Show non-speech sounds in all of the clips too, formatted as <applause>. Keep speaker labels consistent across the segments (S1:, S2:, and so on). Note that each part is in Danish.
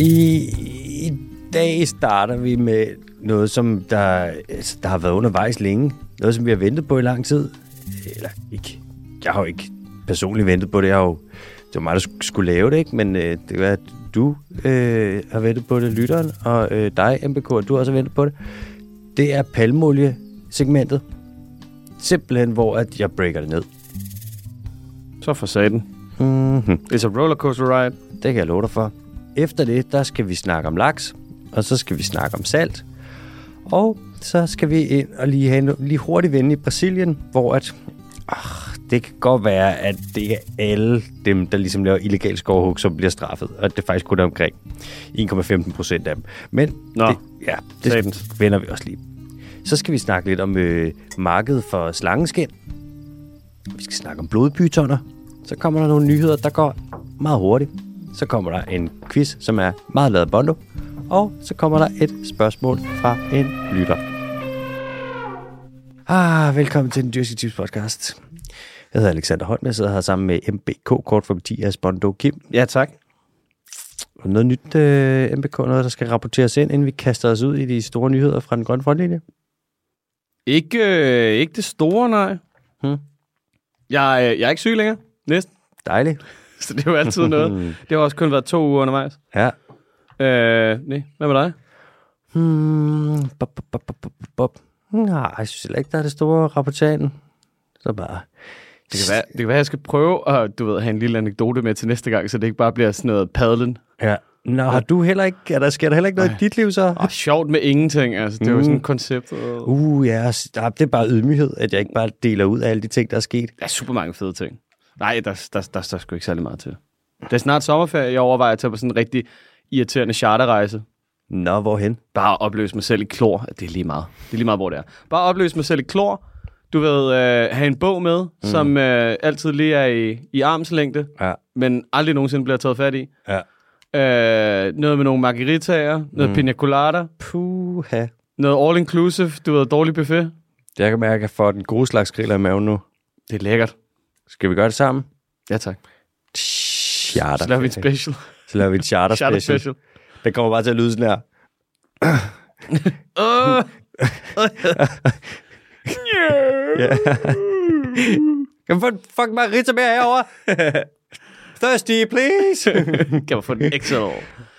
S1: I, I dag starter vi med noget, som der, altså, der har været undervejs længe. Noget, som vi har ventet på i lang tid. Eller ikke. Jeg har jo ikke personligt ventet på det. Jeg har jo, det var mig, der sk- skulle lave det, ikke? Men øh, det kan være, at du øh, har ventet på det, lytteren. Og øh, dig, MBK, du har også ventet på det. Det er palmolie-segmentet. Simpelthen, hvor at jeg breaker det ned.
S2: Så for satan.
S1: Mm-hmm.
S2: It's a rollercoaster ride.
S1: Det kan jeg love dig for. Efter det, der skal vi snakke om laks, og så skal vi snakke om salt. Og så skal vi ind og lige, have en, lige hurtigt vende i Brasilien, hvor at, ah, det kan godt være, at det er alle dem, der ligesom laver illegal skovhug, som bliver straffet. Og det er faktisk kun omkring 1,15 procent af dem. Men
S2: Nå,
S1: det, ja, det
S2: satans.
S1: vender vi også lige. Så skal vi snakke lidt om øh, markedet for slangeskin. Vi skal snakke om blodpytoner. Så kommer der nogle nyheder, der går meget hurtigt. Så kommer der en quiz, som er meget lavet bondo. Og så kommer der et spørgsmål fra en lytter. Ah, velkommen til den dyrske tips podcast. Jeg hedder Alexander Holm, jeg sidder her sammen med MBK, kort for Mathias Bondo Kim.
S2: Ja, tak.
S1: Har du Noget nyt, øh, MBK, noget der skal rapporteres ind, inden vi kaster os ud i de store nyheder fra den grønne frontlinje?
S2: Ikke, øh, ikke det store, nej.
S1: Hmm.
S2: Jeg, øh, jeg er ikke syg længere. Næsten. <laughs>
S1: Dejligt.
S2: Så det er jo altid <laughs> noget. Det har også kun været to uger undervejs.
S1: Ja.
S2: Øh, nej. Hvad med dig?
S1: Hmm, bop, bop, bop, bop, bop, bop. Hmm, Nej, jeg synes heller ikke, der er det store rapportagen. Så bare...
S2: Det kan, være, det kan være, jeg skal prøve at du ved, have en lille anekdote med til næste gang, så det ikke bare bliver sådan noget padlen.
S1: Ja. Nå, har du heller ikke... Er der, sker der heller ikke noget i dit liv, så?
S2: Og sjovt med ingenting, altså. Det er jo sådan
S1: Mm.
S2: et koncept. Uh.
S1: Uh, ja, s- nej, det er bare ydmyghed, at jeg ikke bare deler ud af alle de ting, der er sket.
S2: Der er super mange fede ting. Nej, der, der, der, der er sgu ikke særlig meget til. Det er snart sommerferie. Jeg overvejer at tage på sådan en rigtig irriterende charterrejse.
S1: Nå, hvorhen?
S2: Bare opløse mig selv i klor. Det er lige meget. Det er lige meget, hvor det er. Bare opløse mig selv i klor. Du ved, øh, have en bog med, mm. som øh, altid lige er i, i armslængde,
S1: Ja,
S2: men aldrig nogensinde bliver taget fat i.
S1: ja.
S2: Øh, noget med nogle margaritaer, noget mm. pina colada,
S1: Puha.
S2: noget all-inclusive, du ved, dårlig buffet.
S1: Jeg kan mærke, at jeg får den gode slags griller i maven nu.
S2: Det er lækkert.
S1: Skal vi gøre det sammen?
S2: Ja, tak.
S1: Charter.
S2: Så laver vi en special.
S1: Så laver vi en charter,
S2: Charter
S1: charter special.
S2: <laughs> special.
S1: Det kommer bare til at lyde sådan her.
S2: Åh! yeah.
S1: Ja. <laughs> kan man få en fucking margarita mere <laughs> herovre? Thirsty, please!
S2: Kan man få den XL?
S1: <laughs>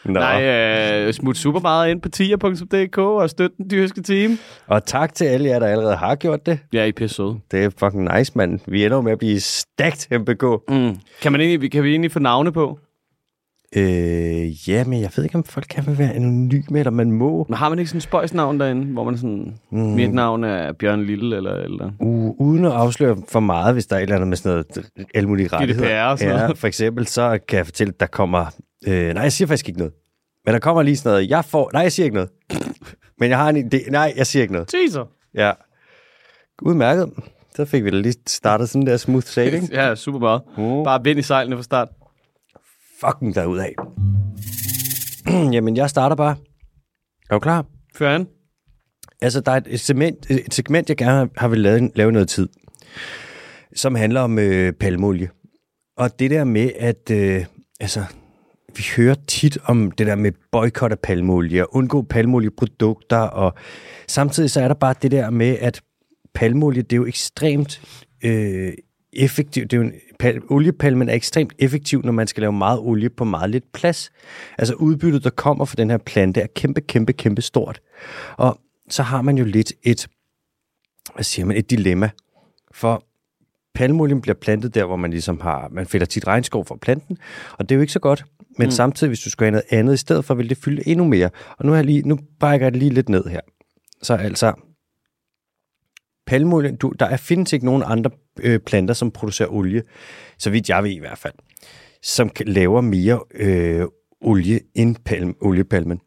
S1: Nå.
S2: Nej, øh, smut super meget ind på tier.dk og støt den dyrske team.
S1: Og tak til alle jer, der allerede har gjort det.
S2: Ja, I er pisse søde.
S1: Det er fucking nice, mand. Vi ender jo med at blive stagt, MBK.
S2: Mm. Kan, man egentlig, kan vi egentlig få navne på?
S1: Øh, ja, men jeg ved ikke, om folk kan være anonyme, eller man må.
S2: Men har man ikke sådan en spøjsnavn derinde, hvor man sådan, mm. mit navn er Bjørn Lille eller... eller.
S1: U- Uh, uden at afsløre for meget, hvis der er et eller andet med sådan noget, alle mulige rettigheder.
S2: GDPR og sådan
S1: ja,
S2: noget.
S1: for eksempel, så kan jeg fortælle, at der kommer... Øh, nej, jeg siger faktisk ikke noget. Men der kommer lige sådan noget, jeg får... Nej, jeg siger ikke noget. Men jeg har en idé. Nej, jeg siger ikke noget.
S2: Teaser!
S1: Ja. Udmærket. Så fik vi da lige startet sådan der smooth sailing.
S2: Ja, super meget.
S1: Mm.
S2: Bare vind i sejlene fra start.
S1: Fucking derudad. <clears throat> Jamen, jeg starter bare. Er du klar?
S2: Før an.
S1: Altså, der er et segment, et segment jeg gerne har vil lave, lave noget tid, som handler om øh, palmolie. Og det der med, at øh, altså, vi hører tit om det der med boykot af palmolie og undgå palmolieprodukter, og samtidig så er der bare det der med, at palmolie, det er jo ekstremt øh, effektivt. Det er jo en, pal, oliepalmen er ekstremt effektiv, når man skal lave meget olie på meget lidt plads. Altså udbyttet, der kommer fra den her plante, er kæmpe, kæmpe, kæmpe stort. Og så har man jo lidt et, hvad siger man, et dilemma. For palmolien bliver plantet der, hvor man ligesom har, man fælder tit regnskov fra planten, og det er jo ikke så godt. Men mm. samtidig, hvis du skal have noget andet i stedet for, vil det fylde endnu mere. Og nu, har jeg lige, nu brækker jeg det lige lidt ned her. Så altså, palmolien, du, der er, findes ikke nogen andre øh, planter, som producerer olie, så vidt jeg ved i hvert fald, som kan- laver mere øh, olie end palm, oliepalmen.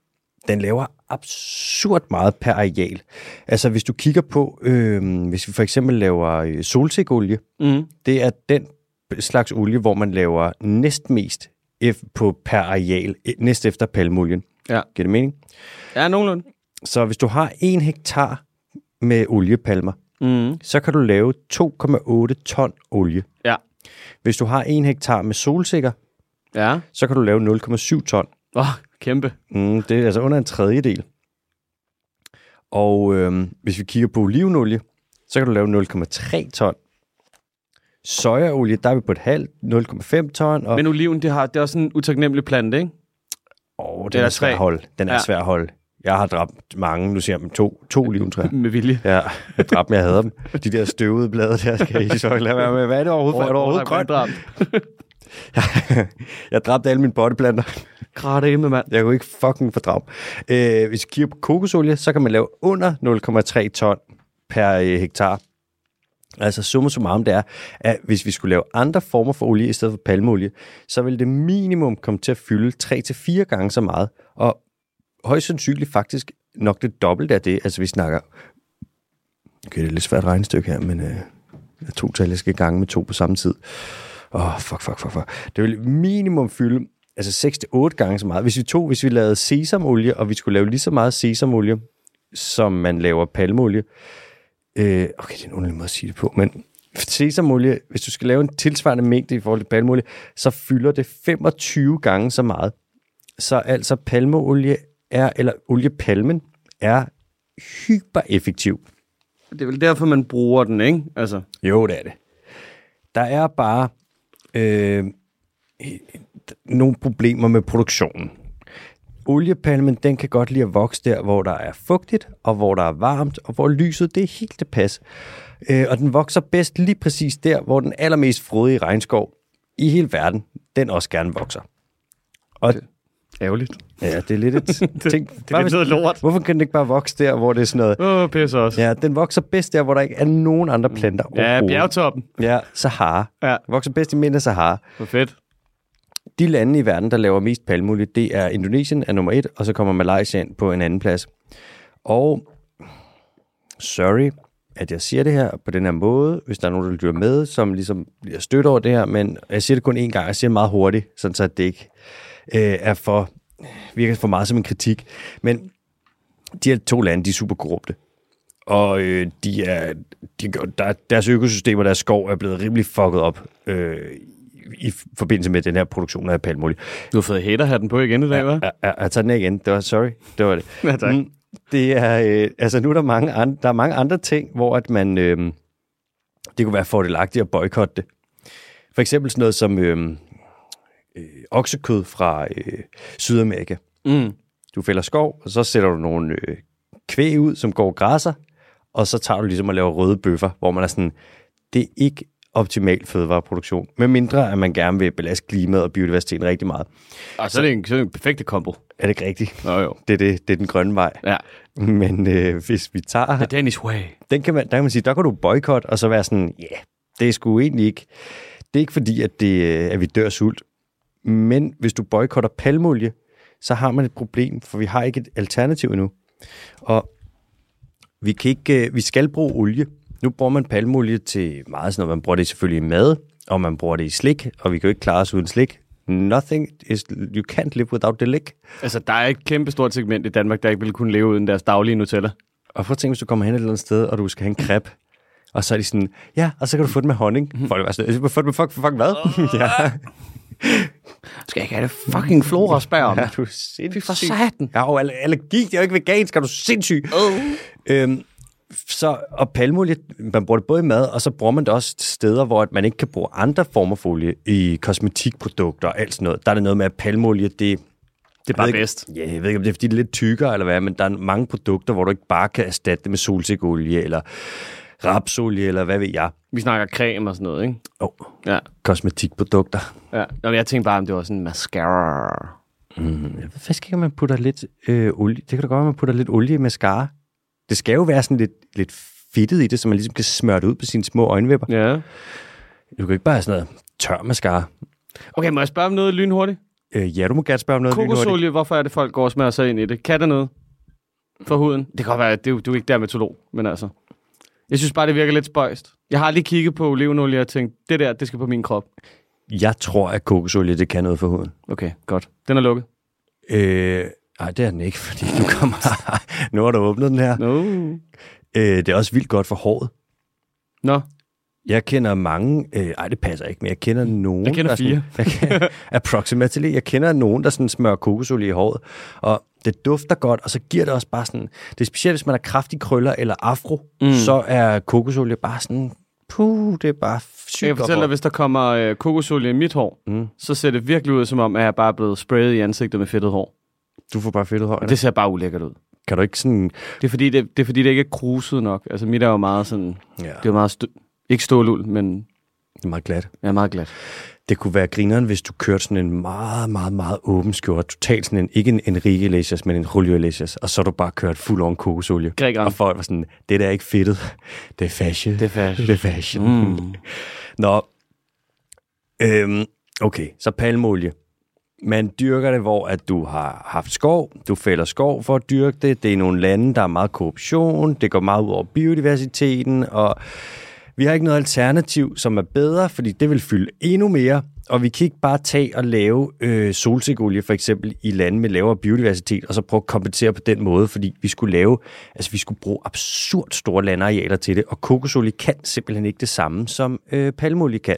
S1: Den laver absurd meget per areal. Altså hvis du kigger på, øh, hvis vi for eksempel laver øh, solsikkeolie,
S2: Mm.
S1: det er den slags olie, hvor man laver næstmest F på per areal, eh, næst efter palmolien.
S2: Ja.
S1: Giver det mening?
S2: Ja, nogenlunde.
S1: Så hvis du har en hektar med oliepalmer,
S2: Mm.
S1: så kan du lave 2,8 ton olie.
S2: Ja.
S1: Hvis du har en hektar med solsikker,
S2: Ja.
S1: så kan du lave 0,7 ton.
S2: Åh, Kæmpe.
S1: Mm, det er altså under en tredjedel. Og øhm, hvis vi kigger på olivenolie, så kan du lave 0,3 ton. Sojaolie, der er vi på et halvt, 0,5 ton. Og,
S2: Men oliven, det, har, det er også sådan en utaknemmelig plante, ikke?
S1: åh, den,
S2: det
S1: er,
S2: er
S1: svær
S2: tre.
S1: at holde. Den er
S2: Ja.
S1: svær at holde. Jeg har dræbt mange, nu siger jeg dem to, to oliventræer. <laughs>
S2: Med vilje.
S1: Ja, jeg dræbte dem, jeg havde dem. De der støvede blade der, skal I så lade være med. Hvad er det overhovedet? for? Er det overhovedet grønt? <laughs> Jeg dræbte alle mine potteplanter.
S2: Grætte med mand.
S1: Jeg kunne ikke fucking fordrage. dem. Øh, hvis vi kigger på kokosolie, så kan man lave under 0,3 ton per øh, hektar. Altså summa summarum, det er, at hvis vi skulle lave andre former for olie i stedet for palmeolie, så ville det minimum komme til at fylde 3-4 gange så meget, og højst sandsynligt faktisk nok det dobbelte af det. Altså vi snakker... Okay, det er lidt svært regnestykke her, men øh, to tal, jeg skal gange med to på samme tid. Åh, oh, fuck, fuck, fuck, fuck. Det vil minimum fylde altså 6-8 gange så meget. Hvis vi tog, hvis vi lavede sesamolie, og vi skulle lave lige så meget sesamolie, som man laver palmeolie. Øh, okay, det er en underlig måde at sige det på, men sesamolie, hvis du skal lave en tilsvarende mængde i forhold til palmeolie, så fylder det 25 gange så meget. Så altså palmeolie er, eller oliepalmen er hypereffektiv.
S2: Det er vel derfor, man bruger den, ikke? Altså,
S1: Jo, det er det. Der er bare øh, nogle problemer med produktionen. Oliepalmen, den kan godt lide at vokse der, hvor der er fugtigt, og hvor der er varmt, og hvor lyset, det er helt tilpas. Øh, og den vokser bedst lige præcis der, hvor den allermest frodige regnskov i hele verden, den også gerne vokser. Og
S2: ærgerligt.
S1: ja, det er lidt
S2: <laughs>
S1: et... tænk,
S2: Det er lidt noget lort.
S1: hvorfor kan den ikke bare vokse der, hvor det er sådan noget...
S2: Åh, oh, pisse også. Ja,
S1: Ja, den vokser bedst der, hvor der ikke er nogen andre planter
S2: ja
S1: overhovedet.
S2: bjergtoppen.
S1: Ja, Sahara.
S2: Ja.
S1: Den Vokser bedst i midten af Sahara.
S2: Hvor fedt.
S1: De lande i verden, der laver mest palmeolie, det er Indonesien er nummer et, og så kommer Malaysia ind på en anden plads. Og sorry, at jeg siger det her på den her måde, hvis der er nogen, der lytter med, som ligesom bliver stødt over det her, men jeg siger det kun én gang, jeg siger det meget hurtigt, sådan så at det ikke øh, er for, virker for meget som en kritik. Men de her to lande, de er super korrupte. Og øh, de er, de, gør- der, deres økosystem og deres skov er blevet rimelig fucket op øh, i forbindelse med den her produktion af palmolie.
S2: Du har fået hætterhatten på igen i dag, hva'?
S1: Jeg, jeg, jeg tager den af igen. Det var, sorry, det var det.
S2: Ja, tak.
S1: Mm, Det er, øh, altså nu er der mange, andre, der er mange andre ting, hvor at man, øh, det kunne være fordelagtigt at boykotte det. For eksempel sådan noget som øh, øh, oksekød fra øh, Sydamerika.
S2: Mm.
S1: Du fælder skov, og så sætter du nogle øh, kvæg ud, som går og græsser, og så tager du ligesom at lave røde bøffer, hvor man er sådan, det er ikke optimal fødevareproduktion, medmindre at man gerne vil belaste klimaet og biodiversiteten rigtig meget.
S2: Og så er Altså, det en, så er det en perfekt kombo.
S1: Er det ikke rigtigt?
S2: Nå jo.
S1: Det er, det, det er den grønne vej.
S2: Ja.
S1: Men øh, hvis vi tager...
S2: The Danish way.
S1: Den kan man, der kan man sige, der kan du boykotte, og så være sådan, ja, yeah, det er sgu egentlig ikke... Det er ikke fordi, at, det, øh, at vi dør af sult. Men hvis du boykotter palmolie, så har man et problem, for vi har ikke et alternativ endnu. Og vi, kan ikke, øh, vi skal bruge olie. Nu bruger man palmolie til meget sådan noget. Man bruger det selvfølgelig i mad, og man bruger det i slik, og vi kan jo ikke klare os uden slik. Nothing is... You can't live without the lick.
S2: Altså, der er et kæmpe stort segment i Danmark, der ikke ville kunne leve uden deres daglige Nutella.
S1: Og prøv at tænke, hvis du kommer hen et eller andet sted, og du skal have en crepe, og så er de sådan, ja, og så kan du få den med honning. Mm. Folk er sådan, "Øh, få den med fuck, fuck hvad? <laughs> ja,
S2: Skal jeg ikke have det fucking florasbær?
S1: er du sindssyg?
S2: for satan.
S1: Jeg har jo aller- allergi, jeg er jo ikke vegansk, er du sindssyg? Øhm, så, og palmolie, man bruger det både i mad, og så bruger man det også til steder, hvor at man ikke kan bruge andre former for olie i kosmetikprodukter og alt sådan noget. Der er det noget med, at palmolie, det,
S2: Det er bare
S1: jeg ved
S2: bedst.
S1: Ikke, ja, jeg ved ikke, om det er, fordi det er lidt tykkere eller hvad, men der er mange produkter, hvor du ikke bare kan erstatte det med solsikkeolie eller rapsolie eller hvad ved jeg.
S2: Vi snakker creme og sådan noget, ikke?
S1: Åh, oh,
S2: Ja.
S1: kosmetikprodukter.
S2: ja. Nå, men jeg tænkte bare, om det var sådan en mascara.
S1: Jeg ved faktisk ikke, om man putter lidt øh, olie. Det kan da godt være, man putter lidt olie i mascara. Det skal jo være sådan lidt, lidt fedtet i det, så man ligesom kan smøre det ud på sine små øjenvipper.
S2: Ja.
S1: Du kan ikke bare have sådan noget tør mascara.
S2: Okay, må jeg spørge om noget lynhurtigt?
S1: Øh, ja, du må gerne spørge om noget. lynhurtigt.
S2: Kokosolie, hvorfor er det, folk går og smører sig ind i det? Kan det noget for huden? Det kan godt være, at det, er jo- du er ikke dermatolog, men altså. Jeg synes bare, det virker lidt spøjst. Jeg har lige kigget på olivenolie og tænkt, det der, det skal på min krop.
S1: Jeg tror, at kokosolie, det kan noget for huden.
S2: Okay, godt. Den er lukket.
S1: Øh, nej, det er den ikke, fordi du kommer... <laughs> nu har du åbnet den her.
S2: No.
S1: Øh, det er også vildt godt for håret.
S2: Nå.
S1: Jeg kender mange, øh, ej det passer ikke, men jeg kender nogen,
S2: Jeg
S1: der
S2: kender fire.
S1: Sådan, <laughs> jeg kender, approximately, jeg kender nogen, der sådan smører kokosolie i håret, og det dufter godt, og så giver det også bare sådan, det er specielt, hvis man har kraftige krøller eller afro, mm. så er kokosolie bare sådan, puh, det er bare sygt
S2: Jeg kan
S1: godt
S2: fortælle dig,
S1: hår.
S2: hvis der kommer øh, kokosolie i mit hår, mm. så ser det virkelig ud, som om at jeg bare er blevet sprayet i ansigtet med fedtet hår.
S1: Du får bare fedtet hår.
S2: Og det ser bare ulækkert ud.
S1: Kan du ikke sådan...
S2: Det er fordi, det, det, er, fordi, det ikke er kruset nok. Altså mit er jo meget sådan...
S1: Ja,
S2: Det er jo meget... Stø- ikke stålul, men
S1: det er meget glat.
S2: jeg er meget glad.
S1: Det kunne være grineren, hvis du kørte sådan en meget, meget, meget åben skjorte. Totalt sådan en, ikke en Enrique Iglesias, men en Julio Iglesias. Og så har du bare kørt fuld on kokosolie.
S2: Grig on.
S1: Og folk var sådan, det der er ikke fedtet. Det er fashion.
S2: Det er fashion.
S1: Det er fashion. Mm. Nå. Øhm, okay, så palmolie. Man dyrker det, hvor at du har haft skov. Du fælder skov for at dyrke det. Det er nogle lande, der er meget korruption. Det går meget ud over biodiversiteten. Og vi har ikke noget alternativ, som er bedre, fordi det vil fylde endnu mere, og vi kan ikke bare tage og lave øh, solsikkeolie for eksempel i lande med lavere biodiversitet, og så prøve at kompensere på den måde, fordi vi skulle lave, altså vi skulle bruge absurd store landarealer til det, og kokosolie kan simpelthen ikke det samme, som øh, palmolie kan.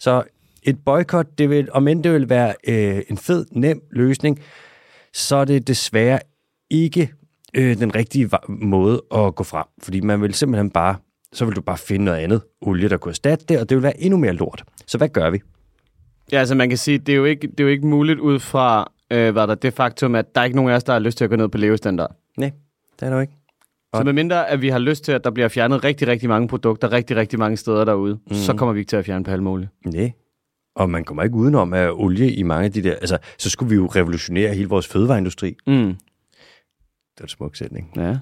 S1: Så et boykot, det vil, om end det vil være øh, en fed, nem løsning, så er det desværre ikke øh, den rigtige va- måde at gå frem. Fordi man vil simpelthen bare, så vil du bare finde noget andet olie, der kunne erstatte det, og det vil være endnu mere lort. Så hvad gør vi?
S2: Ja, altså man kan sige, det er jo ikke, det er jo ikke muligt ud fra øh, hvad der, det faktum, at der er ikke nogen af os, der har lyst til at gå ned på levestandard.
S1: Nej, det er der jo ikke.
S2: Så medmindre, at vi har lyst til, at der bliver fjernet rigtig, rigtig mange produkter, rigtig, rigtig mange steder derude, mm. så kommer vi ikke til at fjerne palmolie.
S1: Nej. Og man kommer ikke udenom, at olie i mange af de der... Altså, så skulle vi jo revolutionere hele vores fødevareindustri.
S2: Mm.
S1: Det er en smuk sætning.
S2: Ja.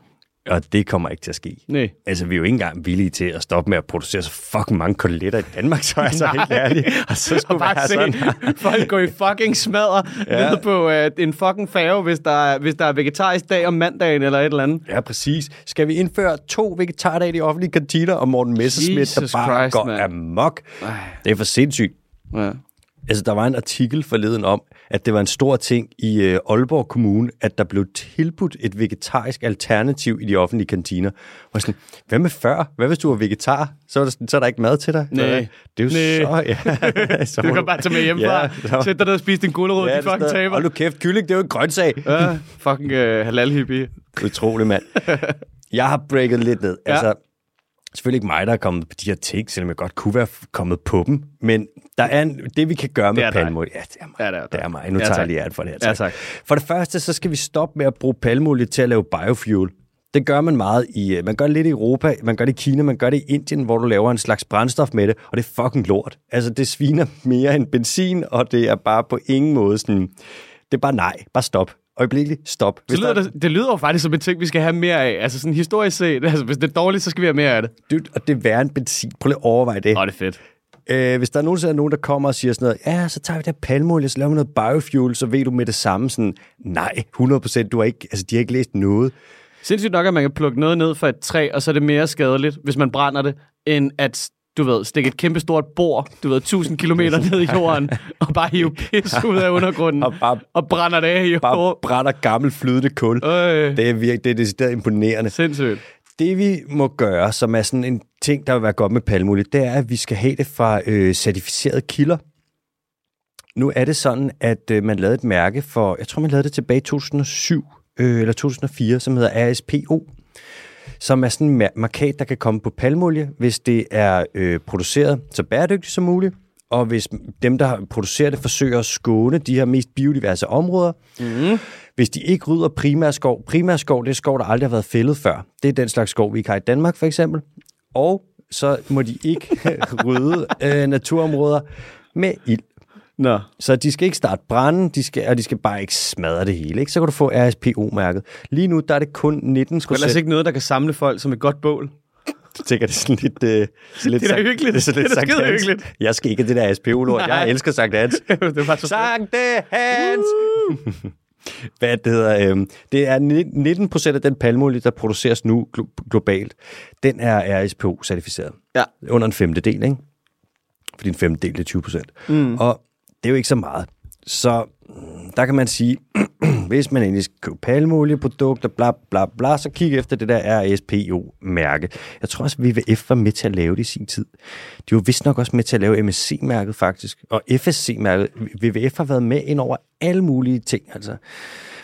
S1: Og det kommer ikke til at ske.
S2: Nej.
S1: Altså, vi er jo ikke engang villige til at stoppe med at producere så fucking mange koteletter i Danmark, så er jeg så helt
S2: Nej.
S1: ærlig. Og så
S2: Og
S1: skulle
S2: bare
S1: være
S2: se
S1: sådan.
S2: <laughs> folk gå i fucking smadre ja. ned på øh, en fucking fave, hvis der, er, hvis der er vegetarisk dag om mandagen eller et eller andet.
S1: Ja, præcis. Skal vi indføre to vegetardage i de offentlige kantiner, og Morten Messerschmidt,
S2: Jesus
S1: der bare
S2: Christ,
S1: går
S2: mand.
S1: amok? Det er for sindssygt.
S2: Ja.
S1: Altså, der var en artikel forleden om, at det var en stor ting i øh, Aalborg Kommune, at der blev tilbudt et vegetarisk alternativ i de offentlige kantiner. Og sådan, hvad med før? Hvad hvis du var vegetar? Så er der, sådan, så er der ikke mad til dig?
S2: Nej.
S1: Det er jo så...
S2: Nej.
S1: <laughs> Ja. så
S2: <laughs> Du
S1: må
S2: kan bare tage med hjemmefra,
S1: så-
S2: <laughs> ja, sætte dig ned og spise din gulerod, ja,
S1: det
S2: de
S1: er
S2: fucking
S1: sådan-
S2: taber.
S1: Hold nu kæft, kylling, det er jo en grøntsag.
S2: Ja, fucking øh, halal hippie.
S1: Utrolig mand. Jeg har breaket lidt ned. Ja.
S2: Ja.
S1: Altså, selvfølgelig ikke mig, der er kommet på de her ting, selvom jeg godt kunne være f- kommet på dem. Men der er en, det, vi kan gøre med
S2: er dig.
S1: palmolie. Ja, det er mig.
S2: Ja, det er dig.
S1: det er mig. Nu
S2: Ja,
S1: tager jeg
S2: tak.
S1: lige alt for det her.
S2: Ja, tak.
S1: For det første, så skal vi stoppe med at bruge palmolie til at lave biofuel. Det gør man meget i, øh, man gør det lidt i Europa, man gør det i Kina, man gør det i Indien, hvor du laver en slags brændstof med det, og det er fucking lort. Altså, det sviner mere end benzin, og det er bare på ingen måde sådan, det er bare nej, bare stop. Øjeblikkeligt, stop. Hvis
S2: Det lyder,
S1: der-
S2: det, det lyder jo faktisk som en ting, vi skal have mere af. Altså sådan historisk set, <laughs> altså hvis det er dårligt, så skal vi have mere af det.
S1: dybt, og det er værre end benzin. Prøv lige at overveje det.
S2: Åh, det er fedt.
S1: Øh, hvis der nogensinde er nogen, der kommer og siger sådan noget, ja, så tager vi det her palmolie, så laver vi noget biofuel, så ved du med det samme sådan, nej, 100%, du har ikke, altså, de har ikke læst noget.
S2: Sindssygt nok, at man kan plukke noget ned fra et træ, og så er det mere skadeligt, hvis man brænder det, end at du ved, stikke et kæmpe stort bord, du ved, 1000 km ned i
S1: <laughs>
S2: jorden, og bare hive pis ud af undergrunden,
S1: Og
S2: og,
S1: bare-
S2: bare, og brænder det af i
S1: Bare
S2: jorden.
S1: brænder gammel flydende kul.
S2: Øh,
S1: Det er virkelig, det er decideret imponerende.
S2: sindssygt.
S1: Det vi må gøre, som er sådan en ting, der vil være godt med palmolie, det er, at vi skal have det fra øh, certificerede kilder. Nu er det sådan, at øh, man lavede et mærke for, jeg tror man lavede det tilbage i 2007 øh, eller 2004, som hedder ASPO, som er sådan en mar- markat, der kan komme på palmolie, hvis det er øh, produceret så bæredygtigt som muligt, og hvis dem, der producerer det, forsøger at skåne de her mest biodiverse områder, hvis de ikke rydder primærskov, primærskov det er skov, der aldrig har været fældet før. Det er den slags skov, vi ikke har i Danmark for eksempel. Og så må de ikke <laughs> rydde øh, naturområder med ild.
S2: Nå.
S1: Så de skal ikke starte branden, de skal, og de skal bare ikke smadre det hele. Ikke? Så kan du få RSPO-mærket. Lige nu der er det kun 19
S2: Ellers
S1: procent.
S2: ikke noget, der kan samle folk som et godt bål.
S1: Jeg tænker, det er sådan lidt... Øh, så lidt
S2: Det er da
S1: Sankt-
S2: hyggeligt.
S1: Det er, sådan lidt
S2: Det er da
S1: Sankt
S2: skide
S1: Hans.
S2: hyggeligt.
S1: Jeg skal ikke have det der SPO-lort. Jeg
S2: Nej.
S1: elsker Sankt Hans.
S2: <laughs> <laughs> det var så
S1: Sankte Hans! <laughs> Hvad det hedder, øhm, det er ni- 19 procent af den palmolie, der produceres nu glo- globalt, den er RSPO-certificeret.
S2: Ja.
S1: Under en femtedel, ikke? Fordi en femtedel er 20 procent. Mm. Og det er jo ikke så meget. Så mm, der kan man sige, <clears throat> hvis man endelig skal købe palmeolieprodukter, bla bla bla, så kig efter det der RSPO-mærke. Jeg tror også, VVF var med til at lave det i sin tid. De var vist nok også med til at lave MSC-mærket faktisk, og FSC-mærket. VVF har været med ind over alle mulige ting, altså.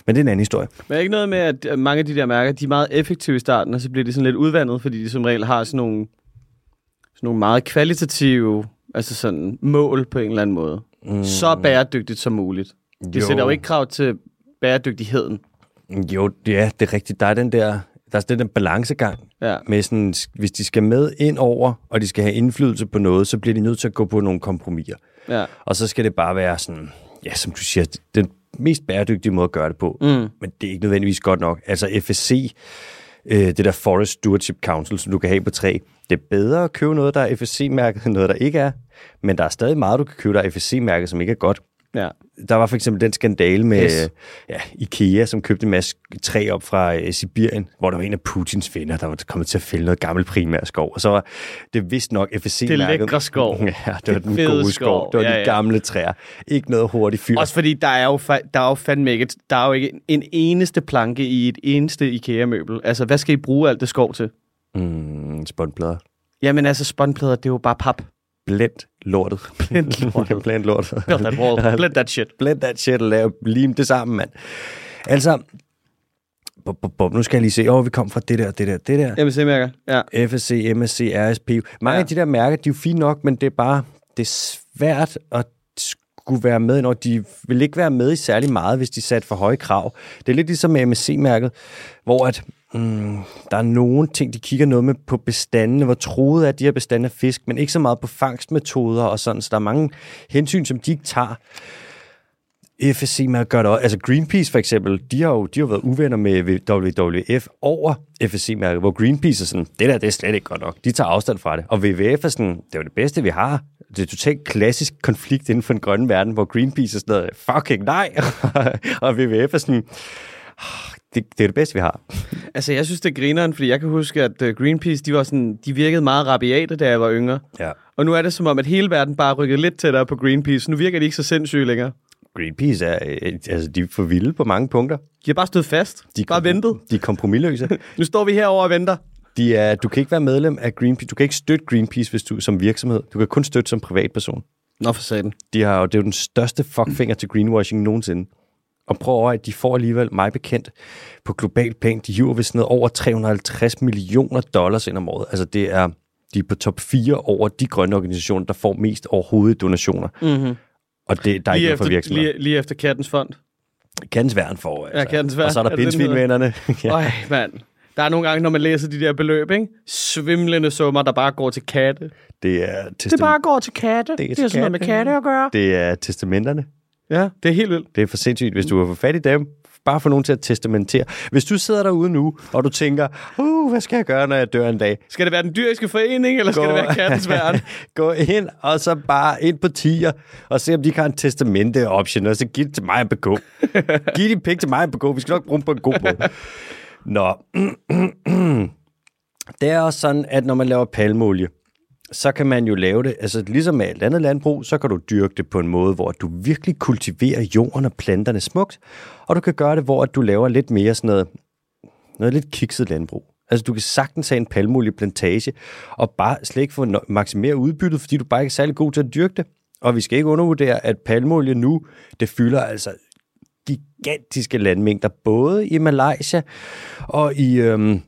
S1: Men det er en anden historie.
S2: Men er ikke noget med, at øh, mange af de der mærker, de er meget effektive i starten, og så bliver de sådan lidt udvandet, fordi de som regel har sådan nogle, sådan nogle meget kvalitative altså sådan mål på en eller anden måde. Mm. Så bæredygtigt som muligt. De
S1: Jo.
S2: jo. sætter jo ikke krav til bæredygtigheden.
S1: Jo, ja, det er rigtigt. Der er den der, der er sådan den balancegang
S2: Ja.
S1: med sådan, hvis de skal med ind over, og de skal have indflydelse på noget, så bliver de nødt til at gå på nogle kompromiser.
S2: ja.
S1: Og så skal det bare være sådan, ja, som du siger, den mest bæredygtige måde at gøre det på. Mm. Men det er ikke nødvendigvis godt nok. Altså FSC, øh, det der Forest Stewardship Council, som du kan have på træ, det er bedre at købe noget, der er FSC-mærket, end noget, der ikke er. Men der er stadig meget, du kan købe, der er FSC-mærket, som ikke er godt.
S2: ja.
S1: Der var for eksempel den skandale med
S2: Yes.
S1: yes. ja, Ikea, som købte en masse træ op fra øh, Sibirien, hvor der var en af Putins venner, der var kommet til at fælde noget gammel primærskov. Og så var det vist nok FSC-mærket.
S2: Det lækre skov.
S1: <laughs> Ja, det var
S2: Det
S1: den
S2: fede
S1: gode skov.
S2: skov.
S1: Det var
S2: Ja,
S1: ja, de
S2: ja.
S1: gamle træer. Ikke noget hurtigt fyr.
S2: Også fordi der er jo, fa- der er jo fandme ikke, et- der er jo ikke en eneste planke i et eneste IKEA-møbel. Altså, hvad skal I bruge alt det skov til?
S1: Mm, spåndblader.
S2: Jamen altså, spåndplader, det er jo bare pap.
S1: Blænd
S2: <laughs>
S1: lortet. Blænd lortet. Blænd lortet.
S2: Build that wall. Build that shit.
S1: Blend that shit og lave, lim det sammen, mand. Altså, bum, bum, bum, nu skal jeg lige se, åh, vi kom fra det der, det der, det der.
S2: MSC-mærker. Ja.
S1: FSC, MSC, RSP. Mange
S2: Ja.
S1: ja. af de der mærker, de er jo fine nok, men det er bare det er svært at skulle være med, når de vil ikke være med i særlig meget, hvis de satte for høje krav. Det er lidt ligesom med MSC-mærket, hvor at, mm, der er nogle ting, de kigger noget med på bestandene, hvor troet er de her bestande af fisk, men ikke så meget på fangstmetoder og sådan, så der er mange hensyn, som de ikke tager. FSC med at gøre det også. Altså Greenpeace for eksempel, de har jo de har været uvenner med WWF over FSC-mærket, hvor Greenpeace er sådan, det der, det er slet ikke godt nok. De tager afstand fra det. Og WWF er sådan, det er jo det bedste, vi har. Det er totalt klassisk konflikt inden for den grønne verden, hvor Greenpeace er sådan noget, fucking nej. <laughs> og WWF er sådan, "Ah, det, det er det bedste, vi har.
S2: Altså, jeg synes, det er grineren, fordi jeg kan huske, at øh, Greenpeace, de, var sådan, de virkede meget rabiate, da jeg var yngre.
S1: Ja.
S2: Og nu er det som om, at hele verden bare er rykket lidt tættere på Greenpeace. Nu virker de ikke så sindssyge længere.
S1: Greenpeace er, øh, altså de er for vilde på mange punkter.
S2: De har bare stået fast. De
S1: De er
S2: bare
S1: kompro-
S2: ventet.
S1: De er kompromilløse.
S2: Nu står vi herover og venter.
S1: De er, du kan ikke være medlem af Greenpeace. Du kan ikke støtte Greenpeace hvis du, som virksomhed. Du kan kun støtte som privatperson.
S2: Nå for satan.
S1: De har jo, det er jo den største fuckfinger til greenwashing nogensinde. Og prøv over, at de får alligevel, mig bekendt, på global plan, de hiver vist noget over 350 millioner dollars ind om året. Altså det er, de er på top 4 over de grønne organisationer, der får mest overhovedet i donationer. Mm-hmm. Og det, der er ikke
S2: Lige
S1: noget for
S2: efter,
S1: virksomheder.
S2: lige, lige efter Kattens Fond.
S1: Kattens værn får, altså.
S2: Kattens Værn.
S1: Og så er
S2: Er
S1: der
S2: det den
S1: pindsvinvennerne.
S2: Ja.
S1: <laughs> ja.
S2: Øj, mand. Der er nogle gange, når man læser de der beløb, ikke? svimlende summer, der bare går til katte. Det,
S1: Det er, testam-
S2: går til katte.
S1: Det er til katte.
S2: at gøre.
S1: det er testamenterne.
S2: Ja, det er helt vildt.
S1: Det er for sindssygt, hvis du har fået fat i dem. Bare få nogen til at testamentere. Hvis du sidder derude nu, og du tænker, uh, hvad skal jeg gøre, når jeg dør en dag?
S2: Skal det være den dyriske forening, eller skal
S1: Gå-
S2: det
S1: <laughs>
S2: være kattens værn?
S1: Gå ind, og så bare ind på tier, og se om de ikke har en testamente-option, og så giv det til mig og BK. giv de penge til mig og BK, vi skal nok bruge dem på en god måde. Nå. det er også sådan, at når man laver palmolie, så kan man jo lave det, altså ligesom med alt andet landbrug, så kan du dyrke det på en måde, hvor du virkelig kultiverer jorden og planterne smukt, og du kan gøre det, hvor at du laver lidt mere sådan noget, noget lidt kikset landbrug. Altså, du kan sagtens have en palmolieplantage, og bare slet ikke få no- maksimere udbyttet, fordi du bare ikke er særlig god til at dyrke det. Og vi skal ikke undervurdere, at palmolie nu, det fylder altså gigantiske landmængder, både i Malaysia og i øhm,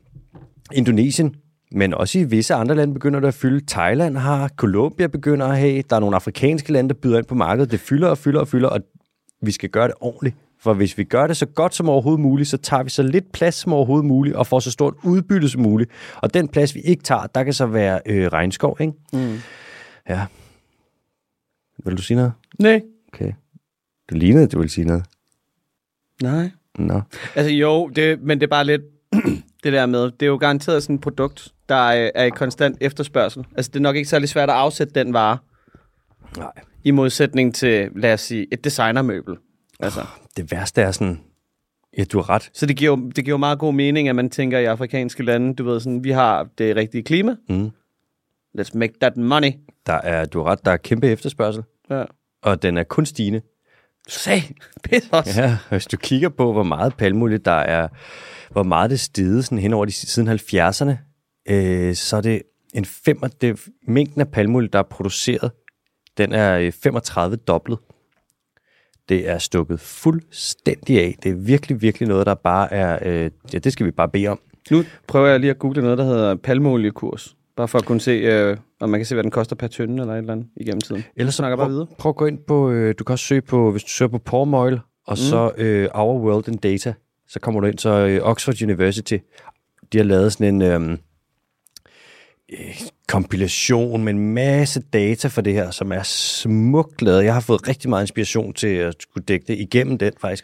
S1: Indonesien, men også i visse andre lande begynder det at fylde. Thailand har, Colombia begynder at have, der er nogle afrikanske lande, der byder ind på markedet. Det fylder og fylder og fylder, og vi skal gøre det ordentligt. For hvis vi gør det så godt som overhovedet muligt, så tager vi så lidt plads som overhovedet muligt, og får så stort udbytte som muligt. Og den plads, vi ikke tager, der kan så være øh, regnskov, ikke? Mm. Ja. Vil du sige noget?
S2: Nej.
S1: Okay. Det lignede, at du ville sige noget.
S2: Nej.
S1: Nå.
S2: Altså jo, det, men det er bare lidt <clears throat> det der med, det er jo garanteret sådan et produkt, der er, er i konstant efterspørgsel. Altså det er nok ikke særlig svært at afsætte den vare,
S1: Nej.
S2: i modsætning til, lad os sige, et designermøbel. Altså.
S1: det værste er sådan, ja, du har ret.
S2: Så det giver, jo- det giver jo meget god mening, at man tænker i afrikanske lande, du ved sådan, vi har det rigtige klima.
S1: Mm.
S2: Let's make that money.
S1: Der er, du har ret, der er kæmpe efterspørgsel,
S2: Ja.
S1: og den er kun stigende.
S2: Sag, pis os.
S1: Ja, hvis du kigger på, hvor meget palmolie der er, hvor meget det stede sådan hen over de siden 70'erne, øh, så er det en fem, det, mængden af palmolie, der er produceret, den er øh, 35 dobblet. Det er stukket fuldstændig af. Det er virkelig, virkelig noget, der bare er... Øh, ja, det skal vi bare bede om.
S2: Nu prøver jeg lige at google noget, der hedder palmeoliekurs. Bare for at kunne se, øh, om man kan se, hvad den koster per tynde eller et eller andet igennem tiden.
S1: Ellers så
S2: Snakker bare videre.
S1: prøv, prøv at gå ind på, øh, du kan også søge på, hvis du søger på Pormoil, og mm. så øh, Our World in Data, så kommer du ind, så øh, Oxford University, de har lavet sådan en øh, øh, kompilation med en masse data for det her, som er smukt lavet. Jeg har fået rigtig meget inspiration til at skulle dække det igennem den faktisk.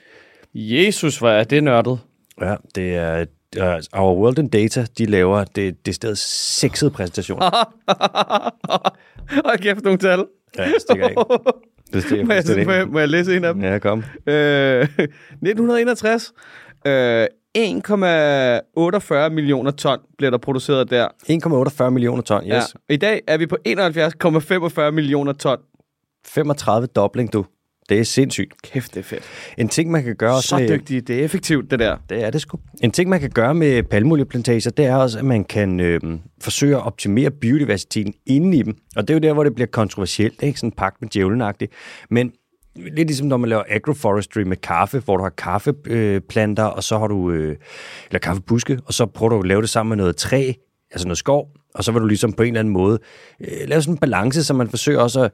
S2: Jesus, hvor er det nørdet.
S1: Ja, det er øh, Our World in Data, de laver det, det sted sexede
S2: <laughs>
S1: præsentationer.
S2: Hold kæft, nogle tal.
S1: ja, det stikker
S2: <laughs>
S1: af. Det stikker
S2: må, jeg,
S1: fuldstændig
S2: må,
S1: af.
S2: jeg, må jeg læse en af dem?
S1: Ja, kom.
S2: Øh, <laughs> 1961. Øh, 1,48 millioner ton bliver der produceret der.
S1: 1,48 millioner ton, yes. Ja.
S2: I dag er vi på 71,45 millioner ton.
S1: 35 dobling, du. Det er sindssygt.
S2: Kæft, det er fedt.
S1: En ting, man kan gøre også
S2: Så
S1: med,
S2: dygtige. Det er effektivt, det der. <laughs>
S1: Det er det sgu. En ting, man kan gøre med palmolieplantager, det er også, at man kan øh, forsøge at optimere biodiversiteten inde i dem. Og det er jo der, hvor det bliver kontroversielt, ikke? Sådan pagt med djævlenagtigt. Men lidt ligesom når man laver agroforestry med kaffe, hvor du har kaffeplanter, og så har du, øh, eller kaffebuske, og så prøver du at lave det sammen med noget træ, altså noget skov, og så vil du ligesom på en eller anden måde øh, lave sådan en balance, så man forsøger også at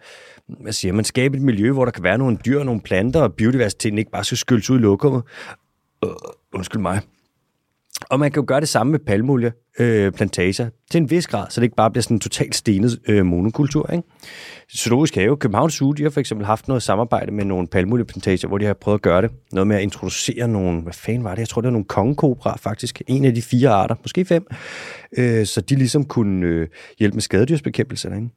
S1: hvad siger, man, skabe et miljø, hvor der kan være nogle dyr og nogle planter, og biodiversiteten ikke bare skal skyldes ud i lokummet. Undskyld mig. Og man kan jo gøre det samme med palmolie, øh, plantager, til en vis grad, så det ikke bare bliver sådan en totalt stenet øh, monokultur. Ikke? Zoologisk Have, Københavns Zoo, de har for eksempel haft noget samarbejde med nogle palmolieplantager, hvor de har prøvet at gøre det. Noget med at introducere nogle, hvad fanden var det? Jeg tror, det var nogle kongekobraer faktisk. En af de fire arter, måske fem. Øh, så de ligesom kunne øh, hjælpe med skadedyrsbekæmpelse. Ikke?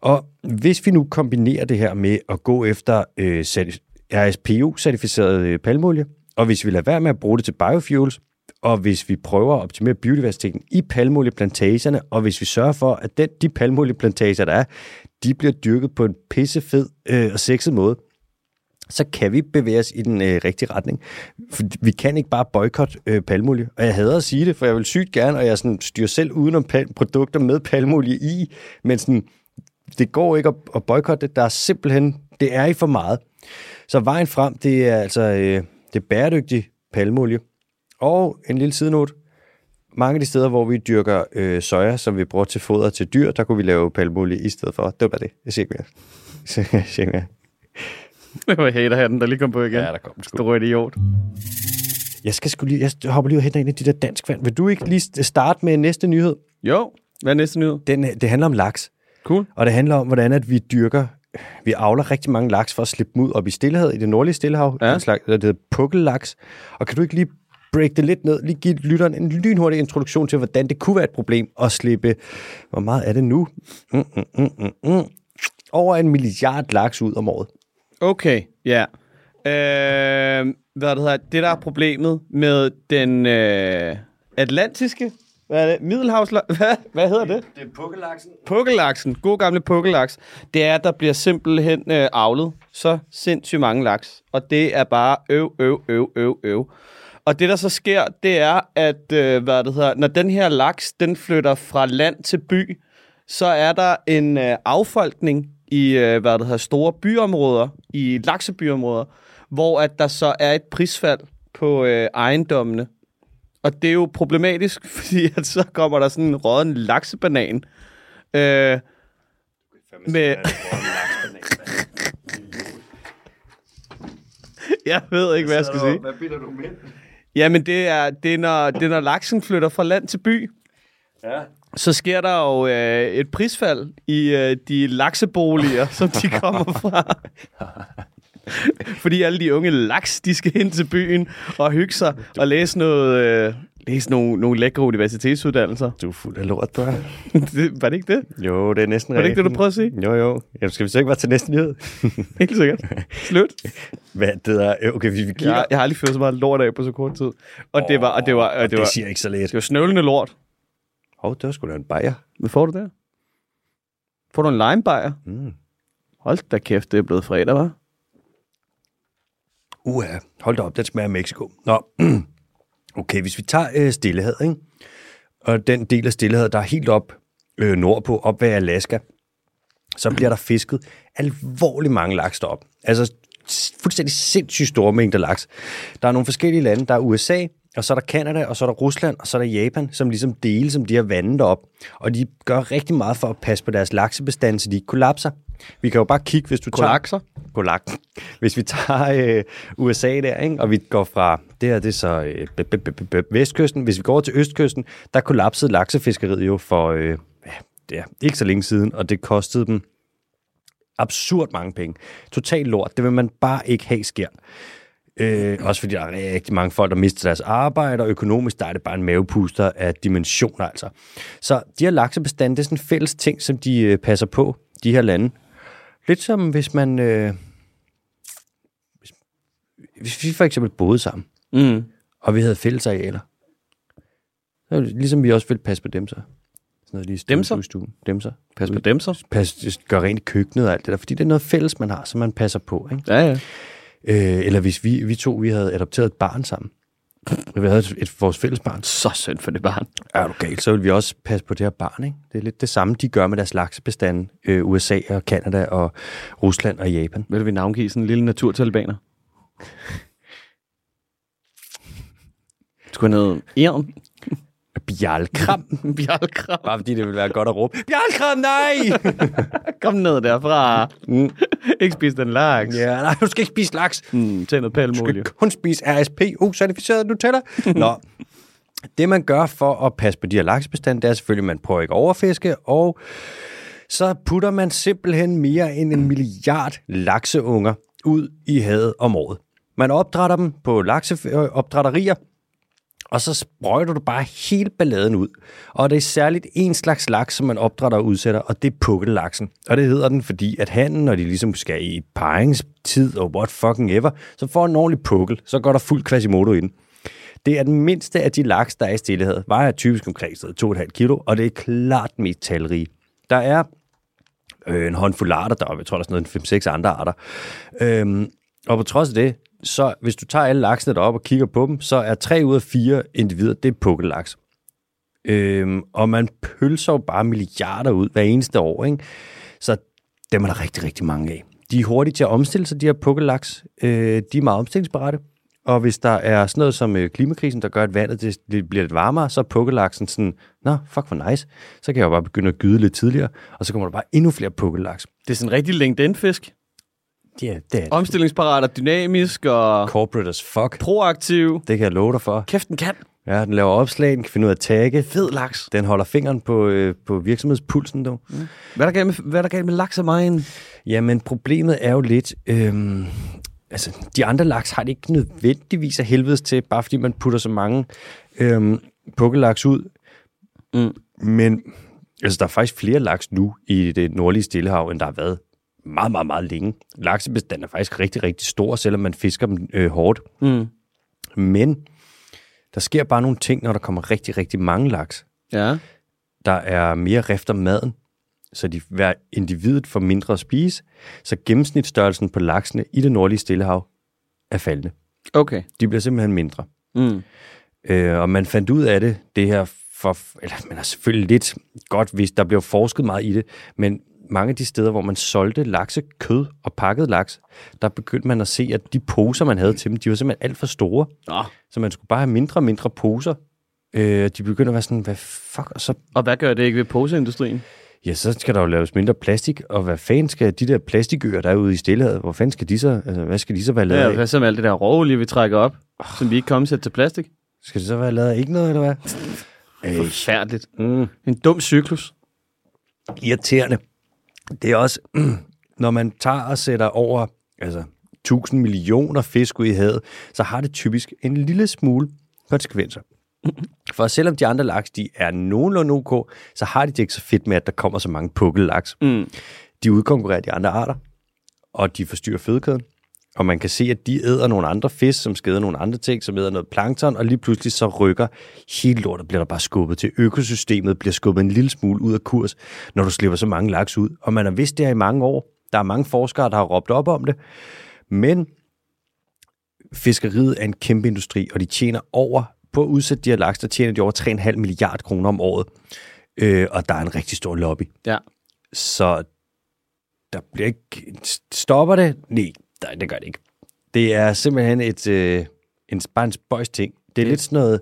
S1: Og hvis vi nu kombinerer det her med at gå efter øh, certi- RSPO-certificeret øh, palmolie, og hvis vi lader være med at bruge det til biofuels, og hvis vi prøver at optimere biodiversiteten i palmolieplantagerne, og hvis vi sørger for, at den, de palmolieplantager, der er, de bliver dyrket på en pissefed øh, og sexet måde, så kan vi bevæge os i den øh, rigtige retning. For vi kan ikke bare boykotte øh, palmolie. Og jeg hader at sige det, for jeg vil sygt gerne, og jeg sådan, styrer selv udenom pal- produkter med palmolie i, men sådan, det går ikke at, at boykotte det. Der er simpelthen, det er i for meget. Så vejen frem, det er altså øh, det er bæredygtig palmolie. Og en lille sidenote. Mange af de steder, hvor vi dyrker øh, soja, som vi bruger til foder til dyr, der kunne vi lave palmolie i stedet for. Det var bare det. Jeg siger ikke mere. <laughs> Jeg siger ikke mere.
S2: Det var haterhatten, der lige kom på igen. Ja, der kom. Stor idiot.
S1: Jeg skal sgu lige, jeg hopper lige ud og henter en af de der dansk vand. Vil du ikke lige starte med næste nyhed?
S2: Jo, hvad er næste nyhed?
S1: Den, øh, det handler om laks.
S2: Cool.
S1: Og det handler om, hvordan at vi dyrker, vi avler rigtig mange laks for at slippe dem ud op i stillehavet, i det nordlige stillehav,
S2: Ja.
S1: ja. en slags, der hedder pukkellaks. Og kan du ikke lige break det lidt ned, lige give lytteren en lynhurtig introduktion til, hvordan det kunne være et problem at slippe, hvor meget er det nu? Mm, mm, mm, mm, mm. Over en milliard laks ud om året.
S2: Okay, ja. Øh, hvad det hedder, det der er problemet med den øh, atlantiske, hvad er det, middelhavsla... <laughs> Hvad, hvad hedder det?
S1: Det er pukkellaksen.
S2: Pukkellaksen, god gamle pukkelaks, det er, at der bliver simpelthen øh, avlet så sindssygt mange laks. Og det er bare øv, øv, øv, øv, øv. Og det, der så sker, det er, at øh, hvad det hedder, når den her laks, den flytter fra land til by, så er der en øh, affolkning i øh, hvad det hedder, store byområder, i laksebyområder, hvor at der så er et prisfald på øh, ejendommene. Og det er jo problematisk, <laughs> fordi at så kommer der sådan en rådden laksebanan, Øh, med... <laughs> jeg ved ikke, hvad jeg skal sige.
S1: Hvad bilder du med?
S2: Jamen, det er, det er, når, det er, når laksen flytter fra land til by.
S1: Ja.
S2: Så sker der jo øh, et prisfald i øh, de lakseboliger, som de kommer fra.
S1: <laughs>
S2: Fordi alle de unge laks, de skal hen til byen og hygge sig og læse, noget, øh, læse nogle, nogle lækre universitetsuddannelser. <laughs>
S1: Du er fuld af lort, du er.
S2: Det- Var det ikke det?
S1: Jo, det er næsten
S2: Var det ikke det, du
S1: rigtigt.
S2: prøvede at sige?
S1: Jo, jo. Jamen, skal vi så ikke bare til næste nyhed?
S2: Helt sikkert. Slut.
S1: Hvad det der? Øh, Okay, vi vi kigger. Ja,
S2: Jeg, jeg har aldrig ført så meget lort af på så kort tid. Og det var, og det var, og det var,
S1: det siger ikke så let.
S2: det var snøvlende lort.
S1: Hov, det var sgu da en bajer.
S2: Hvad får du der? Får du en limebajer?
S1: Mm.
S2: Hold da kæft, det er blevet fredag, var.
S1: Uha, hold da op, den smager af Mexico. Nå, <clears throat> okay, hvis vi tager øh, stillehed, ikke? og den del af stillehed, der er helt op øh, nordpå, op ved Alaska, så bliver der fisket alvorligt mange laks derop. Altså s- fuldstændig sindssygt store mængder laks. Der er nogle forskellige lande. Der er USA, og så er der Kanada, og så er der Rusland, og så er der Japan, som ligesom deler som de her vande derop. Og de gør rigtig meget for at passe på deres laksebestand, så de ikke kollapser. Vi kan jo bare kigge, hvis du
S2: Kollapser?
S1: tager... Kollapser? Hvis vi tager øh, USA der, ikke? og vi går fra... Det her, det er så øh, b- b- b- b- vestkysten. Hvis vi går over til østkysten, der kollapsede laksefiskeriet jo for... Øh, ja, det er ikke så længe siden, og det kostede dem absurd mange penge. Total lort. Det vil man bare ikke have sker. Øh, også fordi der er rigtig mange folk, der mister deres arbejde, og økonomisk der er det bare en mavepuster af dimensioner altså. Så de her laksebestande, det er sådan en fælles ting, som de øh, passer på, de her lande. Lidt som hvis man... Øh, hvis- hvis vi for eksempel boede sammen,
S2: Mm.
S1: og vi havde fælles arealer. Så er det ligesom vi også ville passe på dem så. Sådan noget lige i stuen,
S2: Demser?
S1: ude i stuen. Dem så
S2: Pas på dem så.
S1: passe, gør rent i køkkenet og alt det der, fordi det er noget fælles, man har, som man passer på.
S2: Ja, ja.
S1: Ikke? Øh, eller hvis vi, vi to vi havde adopteret et barn sammen, vi havde et, et, vores fælles barn,
S2: Så synd for det barn.
S1: er du galt, så vil vi også passe på det her barn. Ikke? Det er lidt det samme, de gør med deres laksebestande, øh, USA og Kanada og Rusland og Japan.
S2: Vil vi navngive sådan en lille naturtalibaner? Skulle have noget <laughs> Eren?
S1: Bjalkram,
S2: Bjarlkram.
S1: bare fordi det ville være godt at råbe, Bjalkram, nej!
S2: Kom ned derfra. Mm. <laughs> ikke spise den laks.
S1: <laughs> ja, nej, du skal ikke spise laks.
S2: Mm, tag noget palmolie.
S1: skal kun spise RSP, certificeret Nutella. Nå, det man gør for at passe på de her laksebestand, det er selvfølgelig, at man prøver ikke at overfiske, og så putter man simpelthen mere end en milliard lakseunger ud i havet om året. Man opdrætter dem på lakseopdrætterier, og så sprøjter du bare hele balladen ud. Og det er særligt en slags laks, som man opdrætter og udsætter, og det er pukkellaksen. Og det hedder den, fordi at han, når de ligesom skal i paringstid og what fucking ever, så får en ordentlig pukkel, så går der fuld quasimodo i den. Det er den mindste af de laks, der er i stillehed. Vejer typisk omkring sådan 2,5 kilo, og det er klart den mest talrige. Der er øh, en håndfuld arter deroppe. Jeg tror, der er sådan noget 5-6 andre arter. Øhm, og på trods af det, så hvis du tager alle laksene deroppe og kigger på dem, så er 3 ud af 4 individer, det er pukkellaks. Øhm, og man pølser jo bare milliarder ud hver eneste år, ikke? Så dem er der rigtig, rigtig mange af. De er hurtige til at omstille sig, de her pukkellaks. Øh, de er meget omstillingsparate. Og hvis der er sådan noget som øh, klimakrisen, der gør, at vandet det, det bliver lidt varmere, så er pukkellaksen sådan, nå, fuck hvor nice. Så kan jeg jo bare begynde at gyde lidt tidligere, og så kommer der bare endnu flere pukkellaks.
S2: Det er sådan en rigtig LinkedIn-fisk.
S1: Ja, det er
S2: Omstillingsparat og dynamisk og
S1: corporate as fuck.
S2: proaktiv.
S1: Det kan jeg love dig for.
S2: Kæft, den kan.
S1: Ja, den laver opslag, den kan finde ud af at tagge.
S2: Fed laks.
S1: Den holder fingeren på, øh, på virksomhedspulsen, dog. Mm.
S2: Hvad er der galt med, hvad er der galt med laks og magen?
S1: Jamen, problemet er jo lidt... Øh, altså, de andre laks har det ikke nødvendigvis af helvedes til, bare fordi man putter så mange øh, pukkelaks ud. Mm. Men altså, der er faktisk flere laks nu i det nordlige Stillehav, end der har været meget, meget, meget længe. Laksebestanden er faktisk rigtig, rigtig stor, selvom man fisker dem øh, hårdt.
S2: Mm.
S1: Men der sker bare nogle ting, når der kommer rigtig, rigtig mange laks.
S2: Ja.
S1: Der er mere rift om maden, så de, hver individet får mindre at spise, så gennemsnitsstørrelsen på laksene i det nordlige Stillehav er faldende.
S2: Okay.
S1: De bliver simpelthen mindre.
S2: Mm.
S1: Øh, og man fandt ud af det, det her for, eller man har selvfølgelig lidt godt hvis der blev forsket meget i det, men mange af de steder, hvor man solgte laksekød og pakket laks, der begyndte man at se, at de poser, man havde til dem, de var simpelthen alt for store.
S2: Nå.
S1: Så man skulle bare have mindre og mindre poser. Øh, de begynder at være sådan, hvad fuck, og så,
S2: Og hvad gør det ikke ved poseindustrien?
S1: ja, så skal der jo laves mindre plastik, og hvad fanden skal de der plastikøer, der er ude i stillehavet, hvor fanden skal de så, altså, hvad skal de så være lavet
S2: Ja,
S1: ja,
S2: hvad
S1: af?
S2: så med alt det der råolie, vi trækker op, som vi ikke kommer til til plastik?
S1: Skal det så være lavet af ikke noget, eller hvad? Øh,
S2: Forfærdeligt.
S1: mm.
S2: En dum cyklus.
S1: irriterende. Det er også, <clears throat> når man tager og sætter over altså, 1000 millioner fisk ud i havet, så har det typisk en lille smule konsekvenser. <clears throat> For selvom de andre laks, de er nogenlunde ok, så har de det ikke så fedt med, at der kommer så mange pukkellaks.
S2: Mm.
S1: De udkonkurrerer de andre arter, og de forstyrrer fødekæden. Og man kan se, at de æder nogle andre fisk, som skader nogle andre ting, som æder noget plankton, og lige pludselig så rykker hele lortet, bliver der bare skubbet til. Økosystemet bliver skubbet en lille smule ud af kurs, når du slipper så mange laks ud. Og man har vidst det her i mange år. Der er mange forskere, der har råbt op om det. Men fiskeriet er en kæmpe industri, og de tjener over, på at udsætte de her laks, der tjener de over 3,5 milliard kroner om året. Øh, og der er en rigtig stor lobby.
S2: Ja.
S1: Så der bliver ikke... Stopper det? Nej, nej det gør det ikke. Det er simpelthen et, øh, en, bare en spøjs ting. Det er
S2: Ja.
S1: lidt sådan noget...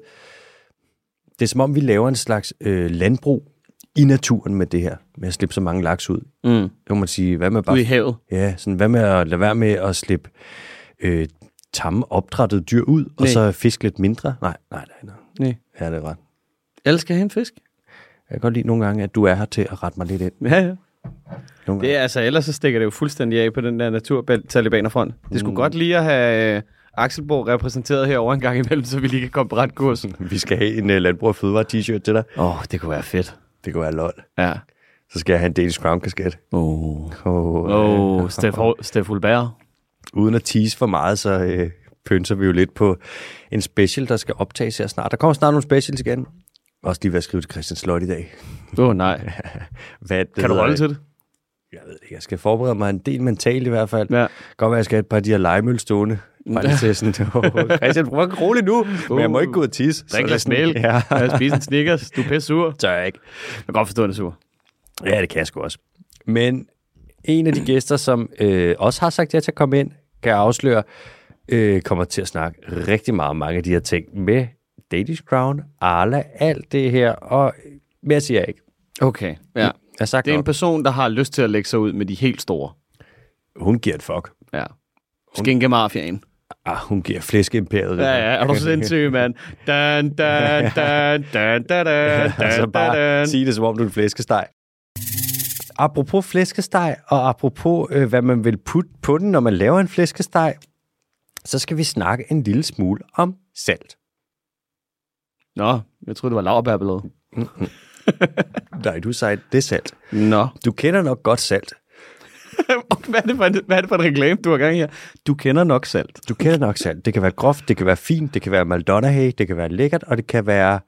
S1: Det er som om, vi laver en slags øh, landbrug i naturen med det her, med at slippe så mange laks ud.
S2: Mm.
S1: Det må man sige, hvad med bare...
S2: Ude i havet.
S1: Ja, sådan, hvad med at lade være med at slippe øh, tamme opdrættede dyr ud, og
S2: Nej.
S1: så fiske lidt mindre? Nej, nej, nej, nej.
S2: Nej.
S1: Ja, det er ret.
S2: Alle skal have en fisk.
S1: Jeg kan godt lide nogle gange, at du er her til at rette mig lidt ind.
S2: Ja, ja.
S1: Nogle gange.
S2: Det er altså, ellers så stikker det jo fuldstændig af på den der naturtalibanerfront. Det skulle mm. godt lige at have øh, Axelborg repræsenteret herover en gang imellem, så vi lige kan komme på ret kurs. Åh,
S1: Vi skal have en uh, landbrug og fødevare t-shirt til dig.
S2: oh, det kunne være fedt.
S1: Det kunne være lol.
S2: Ja.
S1: Så skal jeg have en Danish Crown kasket.
S2: Åh, oh.
S1: Og,
S2: oh, Steff, Steff Hulberg.
S1: uden at tease for meget, så øh, pynser vi jo lidt på en special, der skal optages her snart. Der kommer snart nogle specials igen. Også lige ved at skrive til Christian Slot i dag.
S2: Åh oh, nej.
S1: Hvad, det
S2: Kan du
S1: hedder,
S2: holde til det?
S1: Jeg ved det ikke. Jeg skal forberede mig en del mentalt i hvert fald.
S2: Ja.
S1: Godt være, at jeg skal have et par af de her legemøl stående. Bare
S2: <laughs>
S1: lige til sådan, "Åh, Christian, prøv at roligt nu. Men jeg må ikke gå ud og tisse. Så er
S2: Drik
S1: det
S2: lidt
S1: sådan,
S2: mælk.
S1: Ja,
S2: <laughs> Ja. Spis en Snickers. Du er pisse sur.
S1: tør jeg ikke.
S2: Jeg kan godt forstå, at du er sur.
S1: Ja, det kan jeg sgu også. Men en af de gæster, som øh, også har sagt ja til at komme ind, kan jeg afsløre, øh, kommer til at snakke rigtig meget om mange af de her ting med Danish Crown, Arla, alt det her, og mere siger jeg ikke.
S2: Okay. Ja.
S1: Jeg har sagt
S2: Det er en
S1: nok.
S2: person, der har lyst til at lægge sig ud med de helt store.
S1: Hun giver et fuck.
S2: Ja. Skinkemafiaen.
S1: Ah, hun giver flæskeimperiet.
S2: Ja, ja, er du sindssyg, mand? Dan, <laughs> dan, dan, dan, dan, dan,
S1: <laughs> altså
S2: dan,
S1: bare
S2: dan,
S1: sige det, som om du er en flæskesteg. Apropos flæskesteg, og apropos, øh, hvad man vil putte på den, når man laver en flæskesteg, så skal vi snakke en lille smule om salt.
S2: Nå, jeg troede, det var laverbærbelad.
S1: Nej, du sagde, det er salt.
S2: Nå.
S1: Du kender nok godt salt.
S2: <laughs> hvad, er det for en, hvad er det for en reklame, du har gang i her? Du kender nok salt.
S1: Du kender nok salt. Det kan være groft, det kan være fint, det kan være Maldonahage, det kan være lækkert, og det kan være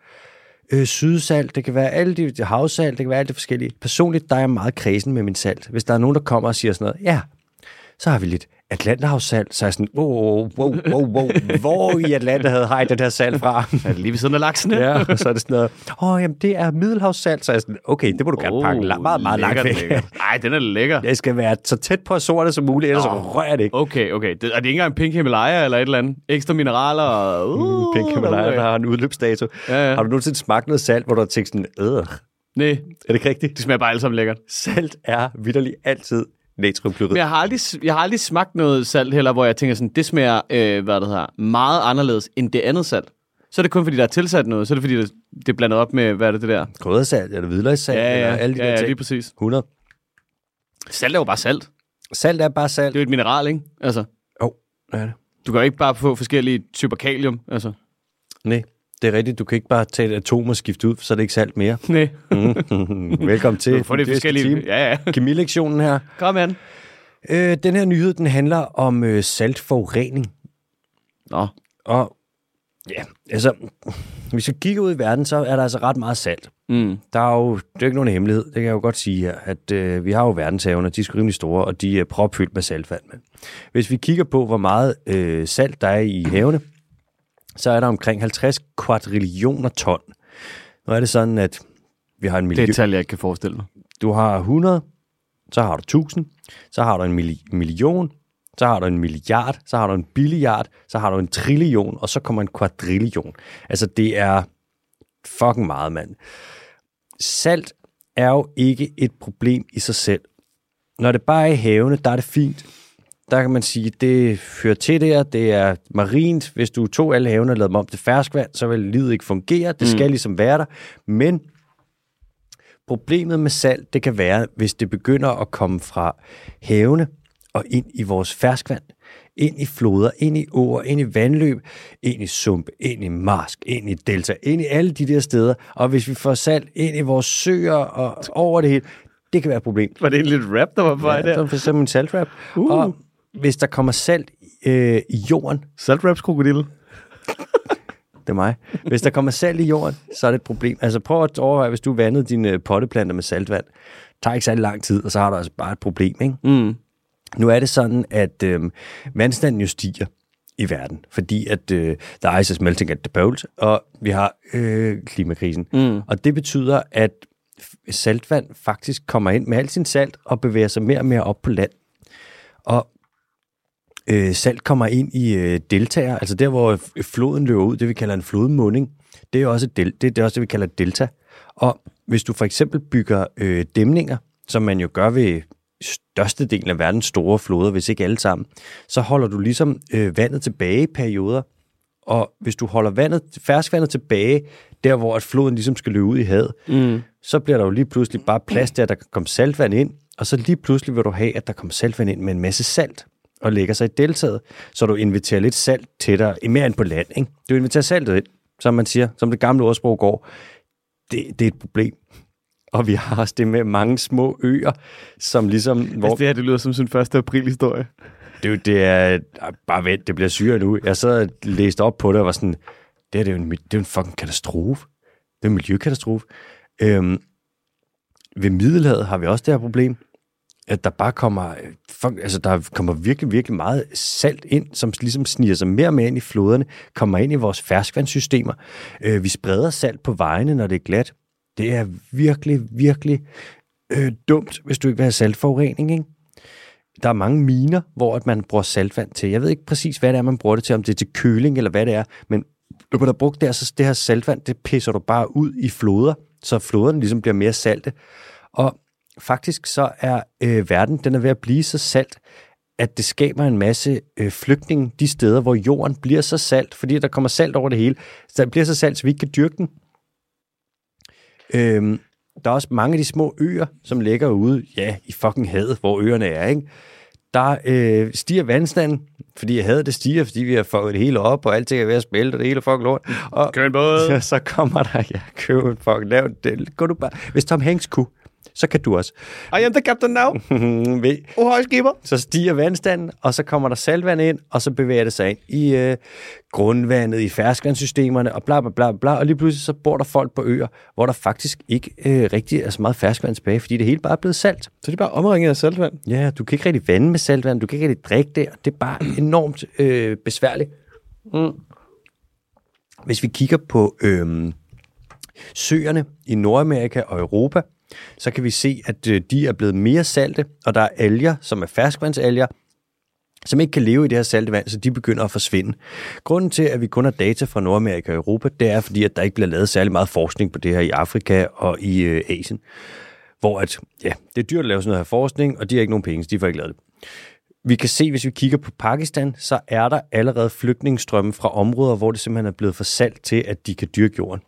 S1: øh, sydsalt, det kan være alle de de havsalt, det kan være alle de forskellige. Personligt, der er jeg meget kredsen med min salt. Hvis der er nogen, der kommer og siger sådan noget, ja, så har vi lidt Atlanterhavssalt, så er jeg sådan, wow, wow, wow, wow, wow, hvor i Atlanterhavet har I den her salt fra?
S2: Er det lige ved siden af laksene?
S1: ja, <laughs> og så er det sådan noget, åh, oh, jamen det er middelhavssalt, så er jeg sådan, okay, det må du gerne
S2: Oh,
S1: pakke la- meget, meget langt væk.
S2: Nej, den er lækker.
S1: Det skal være så tæt på sorte som muligt, ellers oh. rører jeg det ikke.
S2: Okay, okay. Det, er det ikke engang pink Himalaya eller et eller andet? Ekstra mineraler og... Uh,
S1: Pink Himalaya, der har en udløbsdato.
S2: Ja, ja.
S1: Har du nogensinde smagt noget salt, hvor du har tænkt sådan, øh,
S2: Nej,
S1: er det ikke rigtigt?
S2: det smager bare alle sammen lækkert.
S1: Salt er vidderligt altid natriumklorid.
S2: Men
S1: Ja.
S2: jeg har, aldrig, jeg har aldrig smagt noget salt heller, hvor jeg tænker sådan, det smager, øh, hvad det hedder, meget anderledes end det andet salt. Så er det kun fordi, der er tilsat noget. Så er det fordi, det, det er blandet op med, hvad er det, det der?
S1: Kryddersalt, eller hvidløgssalt,
S2: Ja, ja,
S1: eller alle de
S2: ja,
S1: der
S2: ja,
S1: ting.
S2: lige præcis.
S1: 100.
S2: Salt er jo bare salt.
S1: Salt er bare salt.
S2: Det er jo et mineral, ikke? Altså,
S1: Jo, det er det.
S2: du kan jo ikke bare få forskellige typer kalium. Altså. <laughs>
S1: Nej, det er rigtigt. Du kan ikke bare tage et atom og skifte ud, så er det ikke salt mere. Mm,
S2: Nej,
S1: Velkommen til. <laughs>
S2: du får det
S1: den dyreste
S2: forskellige.
S1: time.
S2: Ja, ja.
S1: Kemilektionen her.
S2: Kom an.
S1: Øh, den her nyhed, den handler om øh, saltforurening.
S2: Nå,
S1: Og ja, altså, hvis vi kigger ud i verden, så er der altså ret meget salt.
S2: mm.
S1: Der er jo, det er jo ikke nogen hemmelighed, det kan jeg jo godt sige her, at øh, vi har jo verdenshavene, de er sgu rimelig store, og de er propfyldt med saltvand. Men hvis vi kigger på, hvor meget øh, salt der er i havene, så er der omkring 50 kvadrillioner ton. Nu er det sådan, at vi har en
S2: det er
S1: million.
S2: et tal, jeg ikke kan forestille mig.
S1: Du har 100, så har du 1000, så har du en milli- million, så har du en milliard, så har du en billiard, så har du en trillion, og så kommer en kvadrillion. Altså, det er fucking meget, mand. Salt er jo ikke et problem i sig selv. Når det bare er i havene, der er det fint. Der kan man sige, det hører til der, det er marint. Hvis du tog alle havene og lavede dem om til ferskvand, så vil livet ikke fungere. Det skal ligesom være der. Men Problemet med salt, det kan være, hvis det begynder at komme fra havene og ind i vores ferskvand, ind i floder, ind i åer, ind i vandløb, ind i sump, ind i marsk, ind i delta, ind i alle de der steder. Og hvis vi får salt ind i vores søer og over det hele, det kan være et problem.
S2: Var det en lille rap, der var på vej
S1: Ja,
S2: der?
S1: det er simpelthen en saltrap. Uh. Og hvis der kommer salt øh, i jorden,
S2: Saltraps krokodille.
S1: det er mig. Hvis der kommer salt i jorden, så er det et problem. Altså prøv at overveje, hvis du vandede dine øh, potteplanter med saltvand. Det tager ikke særlig lang tid, og så har du altså bare et problem, ikke?
S2: Mm.
S1: Nu er det sådan, at øh, vandstanden jo stiger, i verden, fordi at øh, the ice is melting at the poles, og vi har øh, klimakrisen. Mm. Og det betyder, at f- saltvand faktisk kommer ind med al sin salt og bevæger sig mere og mere op på land. Og øh, salt kommer ind i øh, deltager, altså der, hvor f- floden løber ud, det vi kalder en flodmunding, det er også, et del, det, det er også det, vi kalder et delta. Og hvis du for eksempel bygger øh, dæmninger, som man jo gør ved størstedelen af verdens store floder, hvis ikke alle sammen, så holder du ligesom øh, vandet tilbage i perioder. Og hvis du holder vandet, ferskvandet tilbage, der hvor at floden ligesom skal løbe ud i havet, mm. så bliver der jo lige pludselig bare plads til, at der kan komme saltvand ind, og så lige pludselig vil du have, at der kommer saltvand ind med en masse salt og lægger sig i deltaget, så du inviterer lidt salt til dig, mere end på land. Ikke? Du inviterer saltet ind, som man siger, som det gamle ordsprog går. Det, det er et problem. Og vi har også det med mange små øer, som ligesom...
S2: Hvor... Altså, det her, det lyder som sin 1. april-historie.
S1: Det, er jo- det er... Ej, Bare vent, det bliver syre nu. Jeg sad og læste op på det og var sådan, det her det er jo en, mi- det er jo en fucking katastrofe. Det er en miljøkatastrofe. Øhm, ved Middelhavet har vi også det her problem, at der bare kommer, øh, fuck, altså der kommer virkelig, virkelig meget salt ind, som ligesom sniger sig mere og mere ind i floderne, kommer ind i vores ferskvandssystemer. Øh, vi spreder salt på vejene, når det er glat. Det er virkelig, virkelig øh, dumt, hvis du ikke vil have saltforurening, ikke? der er mange miner, hvor at man bruger saltvand til. Jeg ved ikke præcis, hvad det er, man bruger det til, om det er til køling eller hvad det er, men når man har brugt det, her, så det her saltvand, det pisser du bare ud i floder, så floderne ligesom bliver mere salte. Og faktisk så er øh, verden, den er ved at blive så salt, at det skaber en masse øh, flygtninge de steder, hvor jorden bliver så salt, fordi der kommer salt over det hele. Så den bliver så salt, så vi ikke kan dyrke den. Øhm, der er også mange af de små øer, som ligger ude, ja, i fucking havet, hvor øerne er, ikke? Der øh, stiger vandstanden, fordi havet det stiger, fordi vi har fået det hele op, og alting er ved at smelte, og det hele er fucking lort. Og
S2: Køb en <laughs> båd.
S1: <laughs> så, så kommer der, ja, køb en fucking lav det. Går du bare, hvis Tom Hanks kunne, så kan du også. <laughs>
S2: I am the captain now.
S1: Ved-
S2: Oh, højskiber.
S1: så stiger vandstanden, og så kommer der saltvand ind, og så bevæger det sig ind i øh, grundvandet, i ferskvandssystemerne, og bla bla bla bla, og lige pludselig så bor der folk på øer, hvor der faktisk ikke øh, rigtig er så meget ferskvand tilbage, fordi det hele bare er blevet salt.
S2: Så de er bare omringet af saltvand.
S1: Ja, du kan ikke rigtig vande med saltvand, du kan ikke rigtig drikke det, og det er bare enormt øh, besværligt. Mm. Hvis vi kigger på øh, søerne i Nordamerika og Europa, så kan vi se, at øh, de er blevet mere salte, og der er alger, som er ferskvandsalger, som ikke kan leve i det her salte vand, så de begynder at forsvinde. Grunden til, at vi kun har data fra Nordamerika og Europa, det er fordi, at der ikke bliver lavet særlig meget forskning på det her i Afrika og i øh, Asien hvor at, ja, det er dyrt at lave sådan noget her forskning, og de har ikke nogen penge, så de får ikke lavet det. Vi kan se, hvis vi kigger på Pakistan, så er der allerede flygtningestrømme fra områder, hvor det simpelthen er blevet for salt til, at de kan dyrke jorden.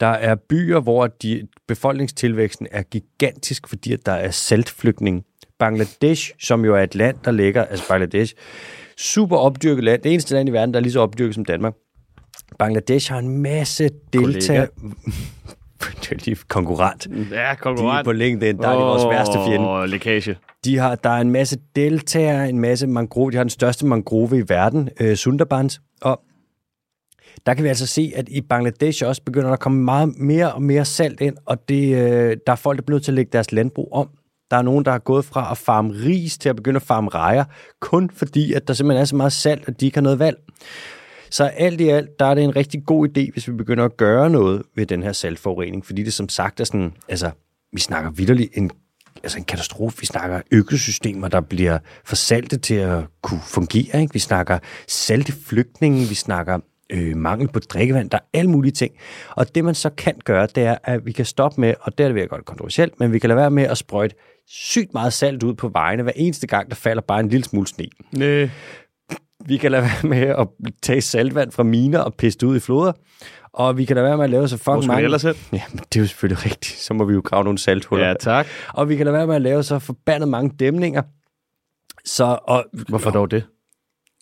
S1: Der er byer, hvor de, befolkningstilvæksten er gigantisk, fordi at der er saltflygtninge. Bangladesh, som jo er et land, der ligger, altså Bangladesh, super opdyrket land, det eneste land i verden, der er lige så opdyrket som Danmark. Bangladesh har en masse delta... <laughs> det er lige konkurrent.
S2: Ja,
S1: De er
S2: konkurrent.
S1: på LinkedIn, der er de vores værste fjende.
S2: Åh, lækage.
S1: De har, der er en masse deltager, en masse mangrove. De har den største mangrove i verden, øh, Sundarbans. Og der kan vi altså se, at i Bangladesh også begynder der at komme meget mere og mere salt ind, og det, øh, der er folk, der bliver nødt til at lægge deres landbrug om. Der er nogen, der har gået fra at farme ris til at begynde at farme rejer, kun fordi, at der simpelthen er så meget salt, at de ikke har noget valg. Så alt i alt, der er det en rigtig god idé, hvis vi begynder at gøre noget ved den her saltforurening, fordi det som sagt er sådan, altså, vi snakker vidderligt en, altså en katastrofe. Vi snakker økosystemer, der bliver for salte til at kunne fungere. Ikke? Vi snakker salte flygtninge, vi snakker øh, mangel på drikkevand, der er alle mulige ting. Og det man så kan gøre, det er, at vi kan stoppe med, og der er det ved at gøre det kontroversielt, men vi kan lade være med at sprøjte sygt meget salt ud på vejene, hver eneste gang, der falder bare en lille smule sne.
S2: Næh.
S1: Vi kan lade være <laughs> med at tage saltvand fra miner og piste ud i floder. Og vi kan lade være med at lave så fucking
S2: skulle vi
S1: mange...
S2: ellers hen?
S1: <laughs> Ja, men det er jo selvfølgelig rigtigt. Så må vi jo grave nogle salthuller.
S2: Ja, tak.
S1: Og vi kan lade være med at lave så forbandet mange dæmninger. Så, og,
S2: Hvorfor dog det?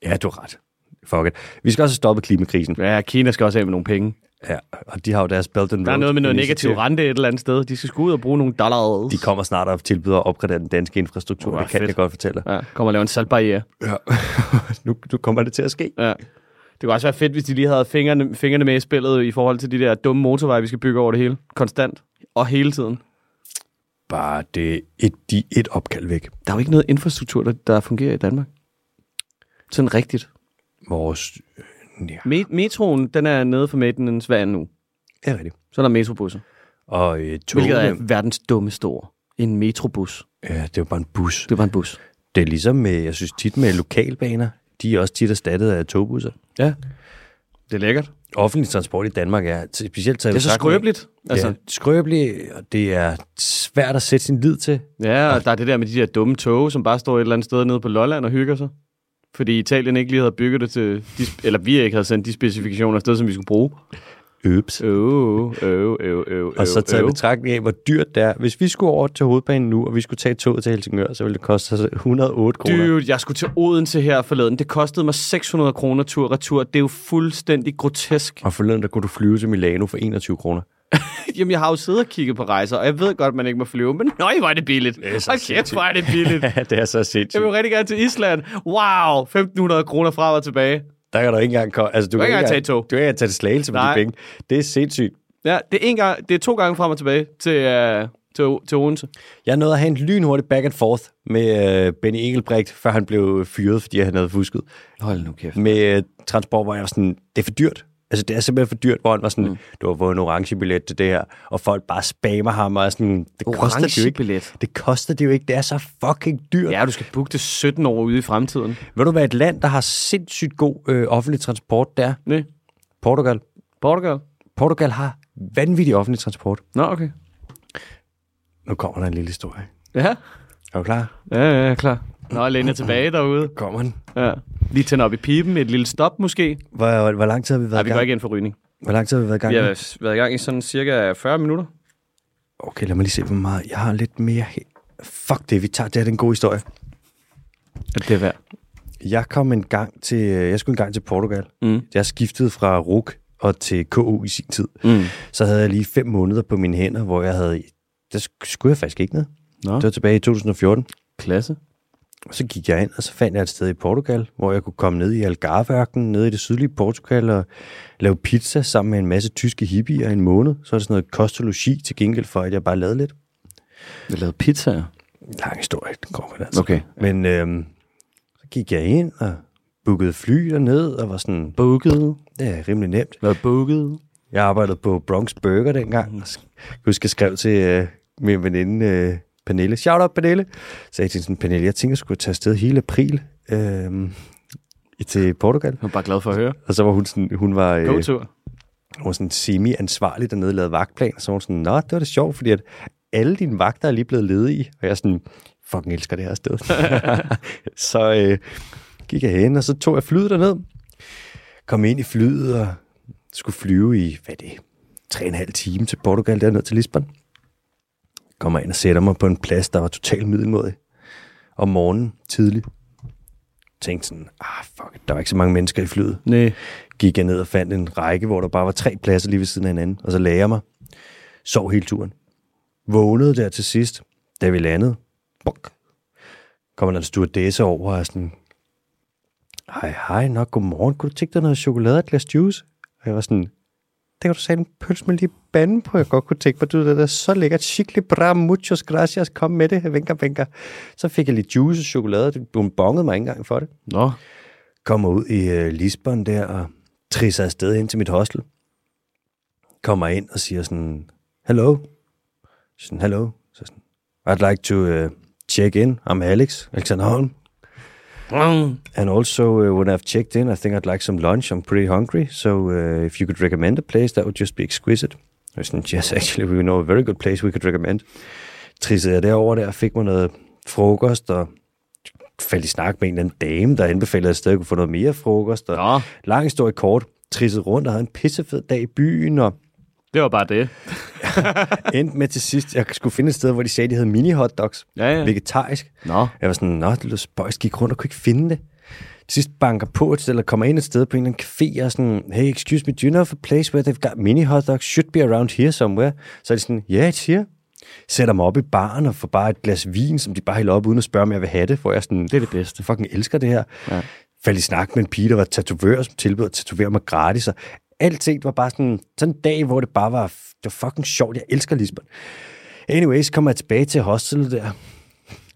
S1: Ja, du har ret. Fuck it. Vi skal også stoppe klimakrisen.
S2: Ja, Kina skal også af med nogle penge.
S1: Ja, og de har jo deres Belt and Road.
S2: Der er noget med noget
S1: initiativ.
S2: negativ rente et eller andet sted. De skal sgu ud og bruge nogle dollars.
S1: De kommer snart og tilbyder at opgradere den danske infrastruktur.
S2: Hvor
S1: det kan
S2: fedt.
S1: jeg godt fortælle dig.
S2: Ja, kommer og lave en saltbarriere.
S1: Ja. <laughs> nu, nu kommer det til at ske.
S2: Ja. Det kunne også være fedt, hvis de lige havde fingrene, fingrene med i spillet i forhold til de der dumme motorveje, vi skal bygge over det hele. Konstant. Og hele tiden.
S1: Bare det et, de et opkald væk.
S2: Der er jo ikke noget infrastruktur, der, der fungerer i Danmark. Sådan rigtigt.
S1: vores... Ja,
S2: Me- metroen, den er nede for Mættenens hver nu.
S1: det er rigtigt.
S2: Så er der metrobusser.
S1: Og øh,
S2: Hvilket
S1: togene,
S2: er verdens dummeste ord. En metrobus.
S1: ja, det er jo bare en bus.
S2: Det er bare en bus.
S1: Det er ligesom, med, jeg synes tit med lokalbaner, de er også tit erstattet af togbusser.
S2: Ja. Det er lækkert.
S1: Offentlig transport i Danmark er specielt taget
S2: Det er så skrøbeligt.
S1: Altså.
S2: Altså,
S1: Ja, skrøbeligt, og det er svært at sætte sin lid til.
S2: Ja, og der er det der med de der dumme tog, som bare står et eller andet sted nede på Lolland og hygger sig. Fordi Italien ikke lige havde bygget det til, de, sp- eller vi ikke havde sendt de specifikationer afsted, som vi skulle bruge.
S1: Øps.
S2: Øv, øv, øv, øv,
S1: Og så tager
S2: øv.
S1: vi betragtning af, hvor dyrt det er. Hvis vi skulle over til hovedbanen nu, og vi skulle tage toget til Helsingør, så ville det koste os 108 kroner.
S2: Dude, jeg skulle til Odense her forleden. Det kostede mig 600 kroner tur og retur. Det er jo fuldstændig grotesk.
S1: Og forleden, der kunne du flyve til Milano for 21 kroner.
S2: Jamen, jeg har jo siddet og kigget på rejser, og jeg ved godt, man ikke må flyve, men nøj, hvor er det billigt.
S1: Det er så
S2: Hold kæft, hvor er det
S1: <laughs>
S2: billigt.
S1: <laughs> Ja, det er så
S2: Jeg
S1: sindssygt.
S2: vil rigtig gerne til Island. Wow, 1500 kroner fra og tilbage.
S1: Der kan du ikke engang komme. Altså, du,
S2: kan ikke engang tage et
S1: engang,
S2: tog.
S1: du kan ikke engang tage til slagelse med de
S2: Nej.
S1: penge. Det er sindssygt.
S2: Ja, det er, en gang, det er to gange frem og tilbage til, øh, til, til Odense.
S1: Jeg nåede at have en lynhurtig back and forth med øh, Benny Engelbrecht, før han blev fyret, fordi han havde fusket.
S2: Hold nu kæft.
S1: Med øh, transport, hvor jeg var sådan, det er for dyrt. Altså, det er simpelthen for dyrt, hvor han var sådan, mm. du har fået en orange billet til det her, og folk bare spammer ham, og er sådan, det koster det jo ikke.
S2: billet.
S1: Det koster det jo ikke. Det er så fucking dyrt.
S2: Ja, du skal booke det 17 år ude i fremtiden.
S1: Vil du være et land, der har sindssygt god øh, offentlig transport, der?
S2: Nej.
S1: Portugal.
S2: Portugal?
S1: Portugal har vanvittig offentlig transport.
S2: Nå, okay.
S1: Nu kommer der en lille historie.
S2: Ja,
S1: Er du klar?
S2: ja, ja, jeg er klar. Nå, læn jer tilbage derude.
S1: Kommer den.
S2: Ja. Lige tænde op i pipen, et lille stop måske.
S1: Hvor, hvor lang tid har vi
S2: Nej,
S1: været
S2: vi
S1: i
S2: går
S1: gang?
S2: ikke ind for rygning.
S1: Hvor lang tid har vi været i gang?
S2: Vi
S1: nu?
S2: har været i gang i sådan cirka 40 minutter.
S1: Okay, lad mig lige se, hvor meget. Jeg har lidt mere... he- Fuck det, vi tager det her, det er en god historie.
S2: Ja, det er værd.
S1: Jeg kom en gang til... øh, Jeg skulle en gang til Portugal.
S2: Mm.
S1: Jeg skiftede fra RUK og til KU i sin tid.
S2: Mm.
S1: Så havde jeg lige fem måneder på mine hænder, hvor jeg havde... Der sk- skulle jeg faktisk ikke ned.
S2: Nå.
S1: Det var tilbage i 2014.
S2: Klasse.
S1: Så gik jeg ind, og så fandt jeg et sted i Portugal, hvor jeg kunne komme ned i Algarve-ørkenen, ned i det sydlige Portugal, og lave pizza sammen med en masse tyske hippier i en måned. Så er det sådan noget kostologi til gengæld for, at jeg bare lavede lidt.
S2: Jeg lavede pizzaer.
S1: Lang historie, den kommer altså.
S2: Okay.
S1: Men øhm, så gik jeg ind og bookede fly derned, og var sådan,
S2: Booket.
S1: det er rimelig nemt.
S2: Været booket.
S1: Jeg arbejdede på Bronx Burger dengang. Mm. Jeg kan huske, jeg skrev til øh, min veninde øh, Pernille. Shout out, Pernille. Så jeg tænkte sådan, Pernille, jeg tænker, jeg skulle tage afsted hele april øh, til Portugal.
S2: Jeg er bare glad for at høre.
S1: Og så var hun sådan, hun var, øh,
S2: God
S1: hun
S2: tur.
S1: var sådan semi-ansvarlig dernede, lavede vagtplan, og så var hun sådan, nå, det var da sjovt, fordi at alle dine vagter er lige blevet ledige, og jeg er sådan, fucking elsker det her sted. så øh, gik jeg hen, og så tog jeg flyet derned, kom ind i flyet og skulle flyve i, hvad er det, tre og en halv time til Portugal, derned til Lisbon. Kommer ind og sætter mig på en plads, der var totalt middelmodig. Om morgenen, tidligt. Tænkte sådan, ah fuck, it, der var ikke så mange mennesker i flyet
S2: Nej.
S1: gik jeg ned og fandt en række, hvor der bare var tre pladser lige ved siden af hinanden, og så lagde jeg mig. Sov hele turen. Vågnede der til sidst, da vi landede. Bok. Kommer der en stewardesse over og er sådan, hej, hej, nok godmorgen, kunne du tænke dig noget chokolade og et glas juice? Og jeg var sådan, det kan du sige en pølse med lige banden på, jeg godt kunne tænke mig, du det er så lækkert, chicle bra, muchos gracias, kom med det, vinker, vinker. Så fik jeg lidt juice og chokolade, og hun bongede mig ikke engang for det
S2: Nå.
S1: kommer ud i øh, Lisbon der og trisser afsted hen til mit hostel. Kommer ind og siger sådan, hello. Sådan, hello. Så sådan, I'd like to uh, check in. I'm Alex, Alexander Holm. And also, uh, when I've checked in, I think I'd like some lunch. I'm pretty hungry. So uh, if you could recommend a place, that would just be exquisite. I was sådan, yes, actually, we know a very good place we could recommend. Trissede jeg derover der, fik mig noget frokost, og faldt i snak med en eller anden dame, der anbefalede, at jeg stadig kunne få noget mere frokost. Og
S2: Nå.
S1: lang historie kort, trissede rundt og havde en pissefed dag i byen, og
S2: Det var bare det.
S1: endte med til sidst, jeg skulle finde et sted, hvor de sagde, de havde mini hotdogs,
S2: Ja, ja.
S1: vegetarisk.
S2: Nå.
S1: Jeg var sådan, nå, det lød spøjst, gik rundt og kunne ikke finde det. Til sidst banker på et sted, eller kommer ind et sted på en eller anden café, og sådan, hey, excuse me, do you know of a place where they've got mini hot dogs? Should be around here somewhere. Så er de sådan, yeah, it's here. Sætter mig op i baren og får bare et glas vin, som de bare hælder op, uden at spørge, om jeg vil have det, for jeg er sådan,
S2: Det er det bedste.
S1: jeg fucking elsker det her. Ja. Faldt i snak med en pige, der var tatovør, som tilbød at tatovere mig gratis, og alting var bare sådan, sådan en dag, hvor det bare var, det var fucking sjovt, jeg elsker Lisbon. Anyways, kommer jeg tilbage til hostelet der,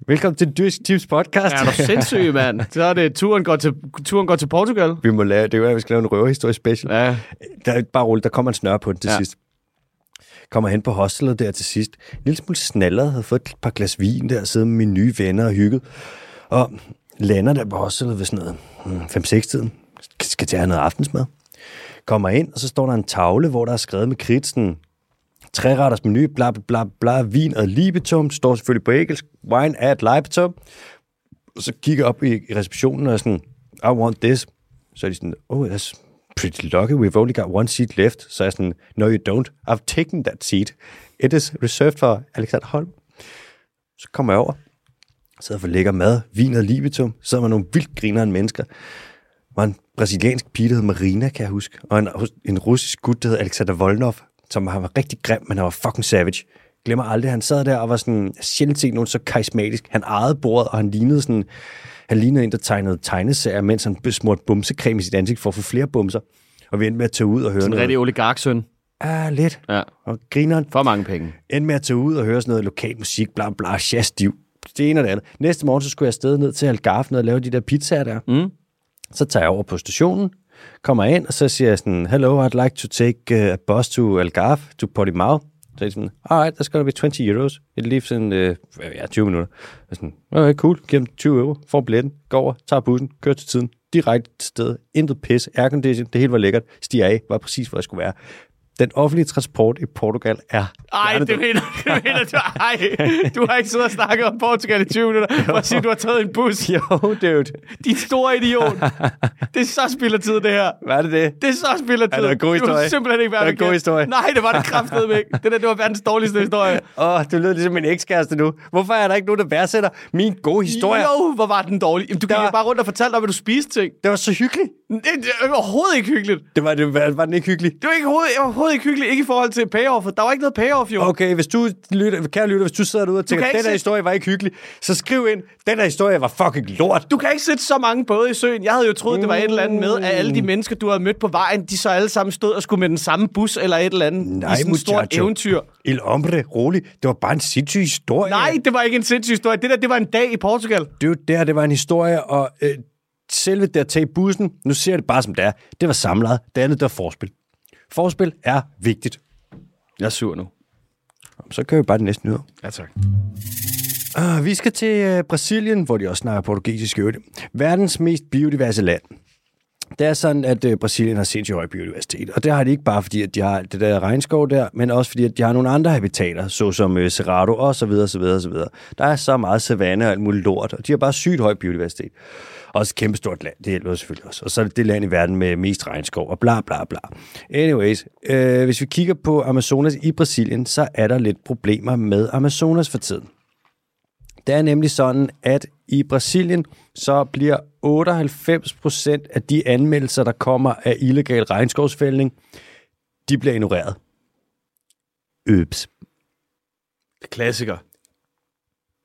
S1: Velkommen til Dysk Tips podcast. <laughs>
S2: Er du sindssyg, mand? Så er det, turen går til, turen går til Portugal.
S1: vi må lave, det er jo, at vi skal lave en røverhistorie special.
S2: Ja.
S1: Øh, Der, bare roligt, der kommer en snør på den til
S2: Ja.
S1: ja. sidst. Kommer hen på hostelet der til sidst. En lille smule snallet, havde fået et par glas vin der, siddet med mine nye venner og hygget. Og lander der på hostelet ved sådan noget 5-6-tiden. Skal til at have noget aftensmad. Kommer ind, og så står der en tavle, hvor der er skrevet med kridt sådan, træretters menu, bla bla bla, bla vin og libetum, står selvfølgelig på engelsk, wine at libetum. Og så kigger jeg op i i receptionen og er sådan, I want this. Så er de sådan, oh, that's pretty lucky, we've only got one seat left. Så er jeg sådan, no you don't, I've taken that seat. It is reserved for Alexander Holm. Så kommer jeg over, sidder for lækker mad, vin og libetum, sidder med nogle vildt grinerende mennesker. Der var en brasiliansk pige, der hed Marina, kan jeg huske, og en, en russisk gut, der hed Alexander Volnov, som han var rigtig grim, men han var fucking savage. Glemmer aldrig, han sad der og var sådan, jeg har sjældent set nogen så karismatisk. Han ejede bordet, og han lignede sådan, han lignede en, der tegnede tegneserier, mens han smurte bumsecreme i sit ansigt for at få flere bumser. Og vi endte med at tage ud og høre
S2: En
S1: noget.
S2: rigtig oligarksøn.
S1: Ah, lidt.
S2: Ja.
S1: Og grineren
S2: For mange penge.
S1: endte med at tage ud og høre sådan noget lokal musik, bla bla, jazz, div, det ene og det andet. Næste morgen, så skulle jeg afsted ned til Algarve ned og lave de der pizzaer der.
S2: Mm.
S1: Så tager jeg over på stationen, kommer ind, og så siger jeg sådan, hello, I'd like to take uh, a bus to Algarve, to Portimao. Så er de sådan, alright, that's gonna be 20 euros. It leaves in, uh, ja, 20 minutter. Jeg er sådan, okay, cool, giver dem 20 euro, får billetten, går over, tager bussen, kører til tiden, direkte til stedet, intet pis, aircondition, det hele var lækkert, stiger af, var præcis, hvor jeg skulle være. Den offentlige transport i Portugal er...
S2: Ej, det
S1: hjernedød.
S2: mener, det mener du. Ej, du har ikke siddet og snakket om Portugal i 20 minutter. <laughs> Hvor siger du, har taget en bus?
S1: <laughs> Jo, dude.
S2: Din store idiot. Det er så spild af tid, det her.
S1: Hvad er det det?
S2: Det er så spild af tid.
S1: Ja, det var en god
S2: Det var
S1: historie.
S2: simpelthen ikke
S1: Det var
S2: værd
S1: en god historie.
S2: Nej, det var det kraftedeme ikke. Det der, det var verdens dårligste historie.
S1: Åh, oh, du lyder ligesom min ekskæreste nu. Hvorfor er der ikke nogen, der værdsætter min gode <laughs> historie? Jo.
S2: Jo, hvor var den dårlig. Jamen, Du gik
S1: Der-
S2: jo bare rundt og fortalte om, at du spiste ting.
S1: Det var så hyggeligt.
S2: Det, det er overhovedet ikke hyggeligt.
S1: Det var, det var, var den ikke hyggelig?
S2: Det var ikke overhovedet, overhovedet ikke hyggeligt. Ikke i forhold til payoffet. Der var ikke noget payoff, jo.
S1: Okay, hvis du lytter, kære lytter, hvis du sidder derude og tænker,
S2: kan
S1: den
S2: ikke
S1: her
S2: se-
S1: historie var ikke hyggelig, så skriv ind, den her historie var fucking lort.
S2: Du kan ikke sætte så mange både i søen. Jeg havde jo troet, det var et eller andet med, at
S1: Mm.
S2: alle de mennesker, du havde mødt på vejen, de så alle sammen stod og skulle med den samme bus eller et eller andet
S1: Nej,
S2: i sådan et stort
S1: muchacho.
S2: eventyr.
S1: El hombre, rolig. Det var bare en sindssyg historie.
S2: Nej, det var ikke en sindssyg historie. Det der, det var en dag i Portugal.
S1: Det var der, det var en historie, og øh, selve det at tage bussen, nu ser jeg det bare som det er, det var samlet. Det andet, der var forspil. Forspil er vigtigt.
S2: Jeg er sur nu.
S1: Så kører vi bare den næste nyhed.
S2: Ja, tak.
S1: Og vi skal til øh, Brasilien, hvor de også snakker portugisisk i øvrigt. Verdens mest biodiverse land. Det er sådan, at øh, Brasilien har sindssygt høj biodiversitet, og det har de ikke bare fordi, at de har det der regnskov der, men også fordi, at de har nogle andre habitater, såsom øh, Cerrado og så videre, så videre, så videre. Der er så meget savanne og alt muligt lort, og de har bare sygt høj biodiversitet. Også et kæmpestort land, det hjælper selvfølgelig også. Og så er det det land i verden med mest regnskov og bla bla bla. Anyways, øh, hvis vi kigger på Amazonas i Brasilien, så er der lidt problemer med Amazonas for tiden. Det er nemlig sådan, at i Brasilien, så bliver 98% af de anmeldelser, der kommer af illegal regnskovsfældning, de bliver ignoreret. Øps.
S2: Klassiker.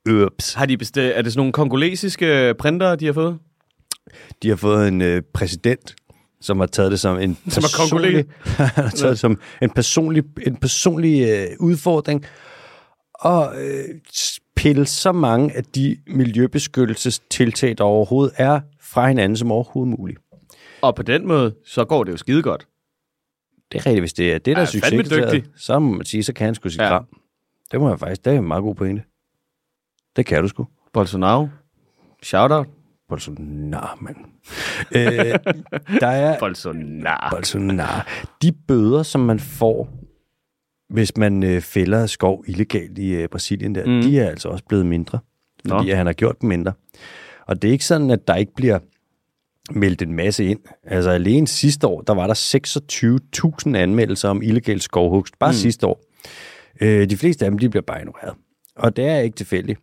S1: Øps.
S2: Har de bestilt, er det sådan nogle kongolesiske printer, de har fået?
S1: De har fået en øh, præsident, som har taget det som en
S2: Som er
S1: personlig, <laughs> han har taget det som en personlig, en personlig øh, udfordring og øh, s- pille så mange af de miljøbeskyttelsestiltag, der overhovedet er, fra hinanden som overhovedet muligt.
S2: Og på den måde, så går det jo skide godt.
S1: Det er rigtigt, hvis det er det, der er
S2: Ja, fandme
S1: succeskriteriet,
S2: dygtig.
S1: så må man sige, så kan han sgu sit
S2: Ja.
S1: ja. kram. Det må jeg faktisk, det er en meget god pointe. Det kan du sgu.
S2: Bolsonaro. Shout out.
S1: Bolsonaro, mand.
S2: <laughs>
S1: øh, der er
S2: Bolsonaro.
S1: Bolsonaro. De bøder, som man får, hvis man øh, fælder skov illegalt i øh, Brasilien, der,
S2: Mm.
S1: mm. de er altså også blevet mindre,
S2: Nå.
S1: fordi at han har gjort dem mindre. Og det er ikke sådan, at der ikke bliver meldt en masse ind. Altså alene sidste år, der var der 26.000 anmeldelser om illegal skovhugst, bare mm. sidste år. Øh, de fleste af dem, de bliver bare ignoreret. Og det er ikke tilfældigt.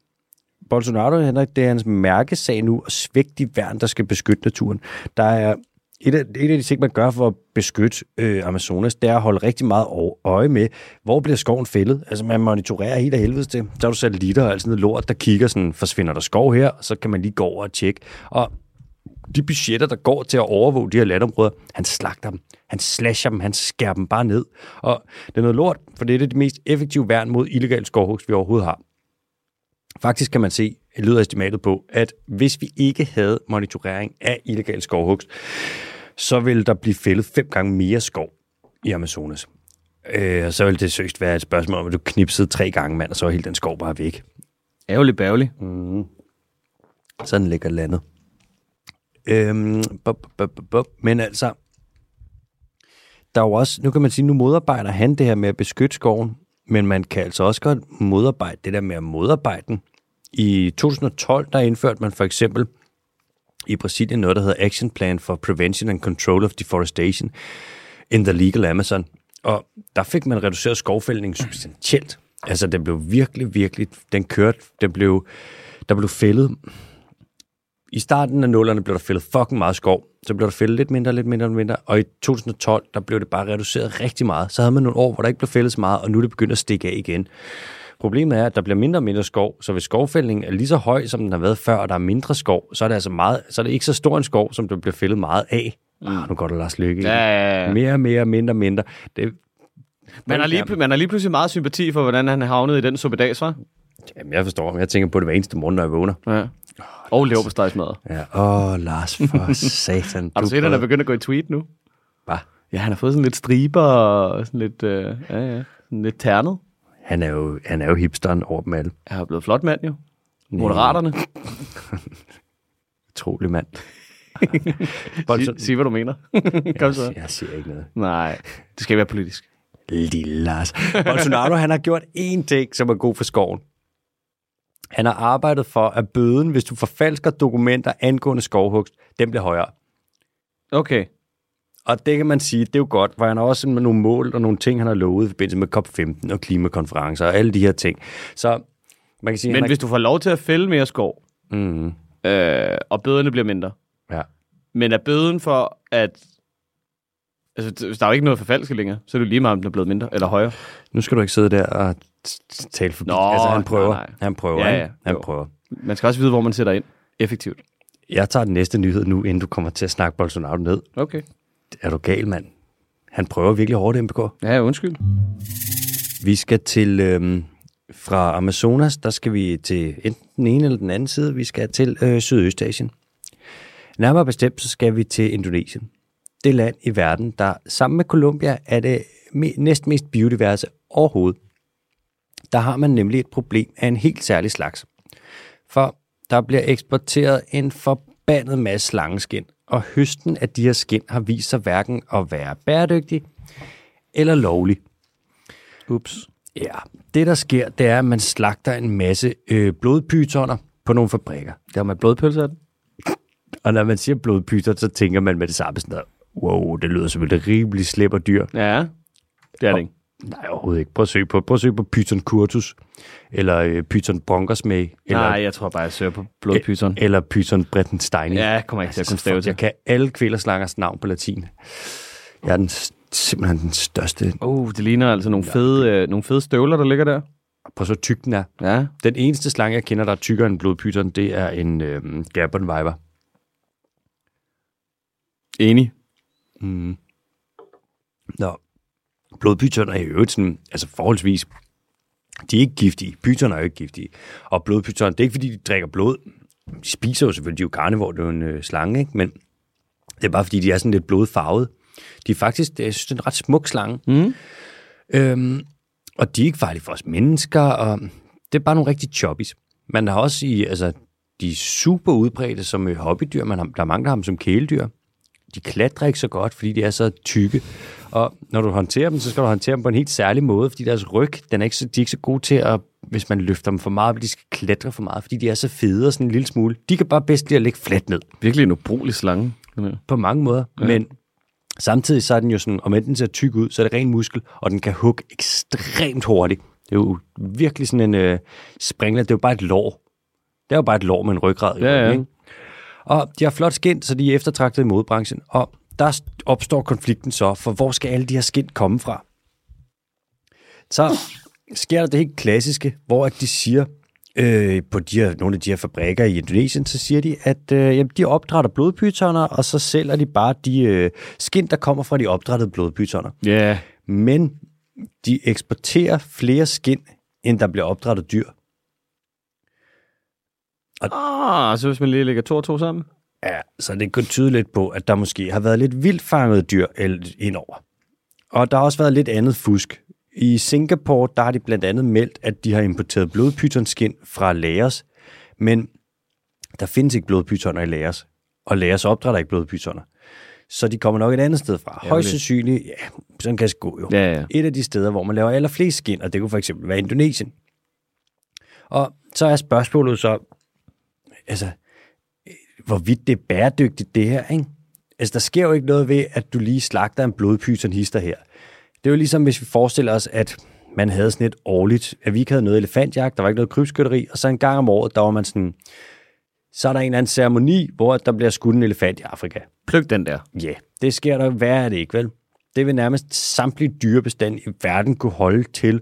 S1: Bolsonaro, Henrik, det er hans mærkesag nu at svække de værn, der skal beskytte naturen. Der er et af, et af de ting, man gør for at beskytte øh, Amazonas, det er at holde rigtig meget ø- øje med, hvor bliver skoven fældet. Altså man monitorerer helt af helvedes til. Der er du satellitter og alt sådan noget lort, der kigger sådan, forsvinder der skov her, og så kan man lige gå over og tjekke. Og de budgetter, der går til at overvåge de her landområder, han slagter dem, han slasher dem, han skærer dem bare ned. Og det er noget lort, for det er det mest effektive værn mod illegal skovhugst, vi overhovedet har. Faktisk kan man se, lyder estimatet på, at hvis vi ikke havde monitorering af illegal skovhugst, så ville der blive fældet fem gange mere skov i Amazonas. Øh, og så ville det søgt være et spørgsmål om, at du knipsede tre gange, mand, og så er hele den skov bare væk.
S2: Ærgerligt bærgerligt.
S1: Sådan ligger landet. Øhm, bup, bup, bup, bup. Men altså, der er jo også, nu kan man sige, nu modarbejder han det her med at beskytte skoven, men man kan altså også godt modarbejde det der med at modarbejde den. I 2012, der indførte man for eksempel i Brasilien noget, der hedder Action Plan for Prevention and Control of Deforestation in the Legal Amazon. Og der fik man reduceret skovfældningen substantielt. Altså, den blev virkelig, virkelig, den kørte, den blev, der blev fældet i starten af nullerne blev der fældet fucking meget skov. Så blev der fældet lidt mindre, lidt mindre, lidt mindre. Og i 2012, der blev det bare reduceret rigtig meget. Så havde man nogle år, hvor der ikke blev fældet så meget, og nu er det begyndt at stikke af igen. Problemet er, at der bliver mindre og mindre skov, så hvis skovfældningen er lige så høj, som den har været før, og der er mindre skov, så er det altså meget, så er det ikke så stor en skov, som der bliver fældet meget af. Ah, nu går der Lars Lykke.
S2: Ja,
S1: Ja.
S2: ja, ja.
S1: Mere, mere, mindre, mindre. Det,
S2: Man, har lige, man har lige pludselig meget sympati for, hvordan han havnede i den suppedags, var?
S1: Jamen, jeg forstår, men jeg tænker på det hver eneste morgen, når jeg vågner.
S2: Ja. Og leverpostejsmad.
S1: Ja. Åh, Lars,
S2: <laughs>
S1: for satan.
S2: Har du set, at han er
S1: prøver-
S2: begyndt at gå i tweet nu?
S1: Hva?
S2: Ja, han har fået sådan lidt striber og sådan lidt, øh, ja, ja, sådan lidt ternet.
S1: han er jo, han er jo hipsteren over dem alle.
S2: Han er blevet flot mand jo. Moderaterne.
S1: Utrolig
S2: <laughs>
S1: mand.
S2: Sig, sig, hvad du mener. <laughs> Kom så.
S1: Jeg siger ikke noget.
S2: Nej, det skal ikke være politisk.
S1: Lille Lars. Bolsonaro, han har gjort én ting, som er god for skoven. Han har arbejdet for, at bøden, hvis du forfalsker dokumenter angående skovhugst, den bliver højere.
S2: Okay.
S1: Og det kan man sige, det er jo godt, for han har også nogle mål og nogle ting, han har lovet i forbindelse med COP15 og klimakonferencer og alle de her ting. Så man kan sige,
S2: Men
S1: han
S2: hvis du får lov til at fælde mere skov,
S1: Mm,
S2: øh, og bøderne bliver mindre,
S1: ja.
S2: men er bøden for, at... Altså, hvis der er jo ikke noget forfalske længere, så er det jo lige meget, om den er blevet mindre eller højere.
S1: Nu skal du ikke sidde der og t- t- tale forbi.
S2: Nå,
S1: altså, han prøver.
S2: nej, nej.
S1: Han prøver,
S2: Ja,
S1: ikke?
S2: ja,
S1: Han
S2: jo.
S1: prøver.
S2: Man skal også vide, hvor man sætter ind. Effektivt.
S1: Jeg tager den næste nyhed nu, inden du kommer til at snakke Bolsonaro ned.
S2: Okay.
S1: Er du gal, mand? Han prøver virkelig hårdt, MBK.
S2: Ja, undskyld.
S1: Vi skal til... Øhm, fra Amazonas, der skal vi til enten den ene eller den anden side. Vi skal til øh, Sydøstasien. Nærmere bestemt, så skal vi til Indonesien. Det land i verden, der sammen med Colombia er det me- næstmest biodiverse overhovedet. Der har man nemlig et problem af en helt særlig slags. For der bliver eksporteret en forbandet masse slangeskin, og høsten af de her skin har vist sig hverken at være bæredygtig eller lovlig.
S2: Ups.
S1: Ja, det der sker, det er, at man slagter en masse øh, blodpytoner på nogle fabrikker.
S2: Det har man blodpølse af den.
S1: Og når man siger blodpyton, så tænker man med det samme sådan noget. Wow, det lyder som et rimelig slipper dyr.
S2: Ja, det er det ikke.
S1: Nej, overhovedet ikke. Prøv at søge på, prøv at søge på pyton curtus, eller øh, pyton bronkersmag, eller,
S2: Nej, jeg tror bare, jeg søger på blodpyseren.
S1: eller pyton bretenstein.
S2: Ja, jeg kommer ikke til at kunne stave
S1: jeg
S2: til.
S1: kan alle kvælerslangers navn på latin. Jeg er den, s- simpelthen den største.
S2: Oh, det ligner altså nogle fede, øh, nogle fede støvler, der ligger der.
S1: Prøv at så tyk den er.
S2: Ja.
S1: Den eneste slange, jeg kender, der er tykkere end blodpyton, det er en øh, Gabon Viper.
S2: Enig.
S1: Nå. Blodpytoner er i øvrigt sådan, altså forholdsvis, de er ikke giftige. Pytoner er jo ikke giftige. Og blodpytoner, det er ikke fordi, de drikker blod. De spiser jo selvfølgelig, de er jo karnevor, det er jo en øh, slange, ikke? Men det er bare fordi, de er sådan lidt blodfarvet. De er faktisk, det, jeg synes, det er en ret smuk slange.
S2: Mm.
S1: Øhm, og de er ikke farlige for os mennesker, og det er bare nogle rigtig choppies. Man har også i, altså, de er super udbredte som øh, hobbydyr. Man har, der mangler ham som kæledyr. De klatrer ikke så godt, fordi de er så tykke. Og når du håndterer dem, så skal du håndtere dem på en helt særlig måde, fordi deres ryg, den er ikke så, de er ikke så gode til at, hvis man løfter dem for meget, de skal klatre for meget, fordi de er så fede og sådan en lille smule. De kan bare bedst lide at ligge fladt ned
S2: Virkelig en ubrugelig slange. den her.
S1: på mange måder, ja. men samtidig så er den jo sådan, om den ser tyk ud, så er det ren muskel, og den kan hugge ekstremt hurtigt. Det er jo virkelig sådan en øh, springler, det er jo bare et lår. Det er jo bare et lår med en ryggrad. i
S2: Ja,
S1: ryggen,
S2: ja.
S1: Ikke? Og de har flot skind, så de er eftertragtet i modebranchen, og der opstår konflikten så, for hvor skal alle de her skind komme fra? så sker der det helt klassiske, hvor at de siger, øh, på de her, nogle af de her fabrikker i Indonesien, så siger de, at øh, jamen, de opdrætter blodpytoner, og så sælger de bare de øh, skind, der kommer fra de opdrættede blodpytoner.
S2: Ja. Yeah.
S1: Men de eksporterer flere skind, end der bliver opdrættet dyr.
S2: Ah, så hvis man lige lægger to og to sammen.
S1: Ja, så det kunne tyde lidt på, at der måske har været lidt vildfanget dyr el- indover. Og der har også været lidt andet fusk. I Singapore, der har de blandt andet meldt, at de har importeret blodpythonskin fra Laos, men der findes ikke blodpythoner i Laos, og Laos opdrætter ikke blodpythoner. Så de kommer nok et andet sted fra. Højst sandsynligt, ja, sådan kan det gå jo.
S2: Ja, ja.
S1: Et af de steder, hvor man laver allerflest skind, og det kunne for eksempel være Indonesien. Og så er spørgsmålet så, altså, øh, hvorvidt det er bæredygtigt, det her, ikke? Altså, der sker jo ikke noget ved, at du lige slagter en blodpyton hister her. Det er jo ligesom, hvis vi forestiller os, at man havde sådan et årligt, at vi ikke havde noget elefantjagt, der var ikke noget krybskytteri, og så en gang om året, der var man sådan, så er der en eller anden ceremoni, hvor der bliver skudt en elefant i Afrika.
S2: Pløk den der.
S1: Ja, yeah, det sker der værre er det ikke, vel? Det vil nærmest samtlige dyrebestand i verden kunne holde til,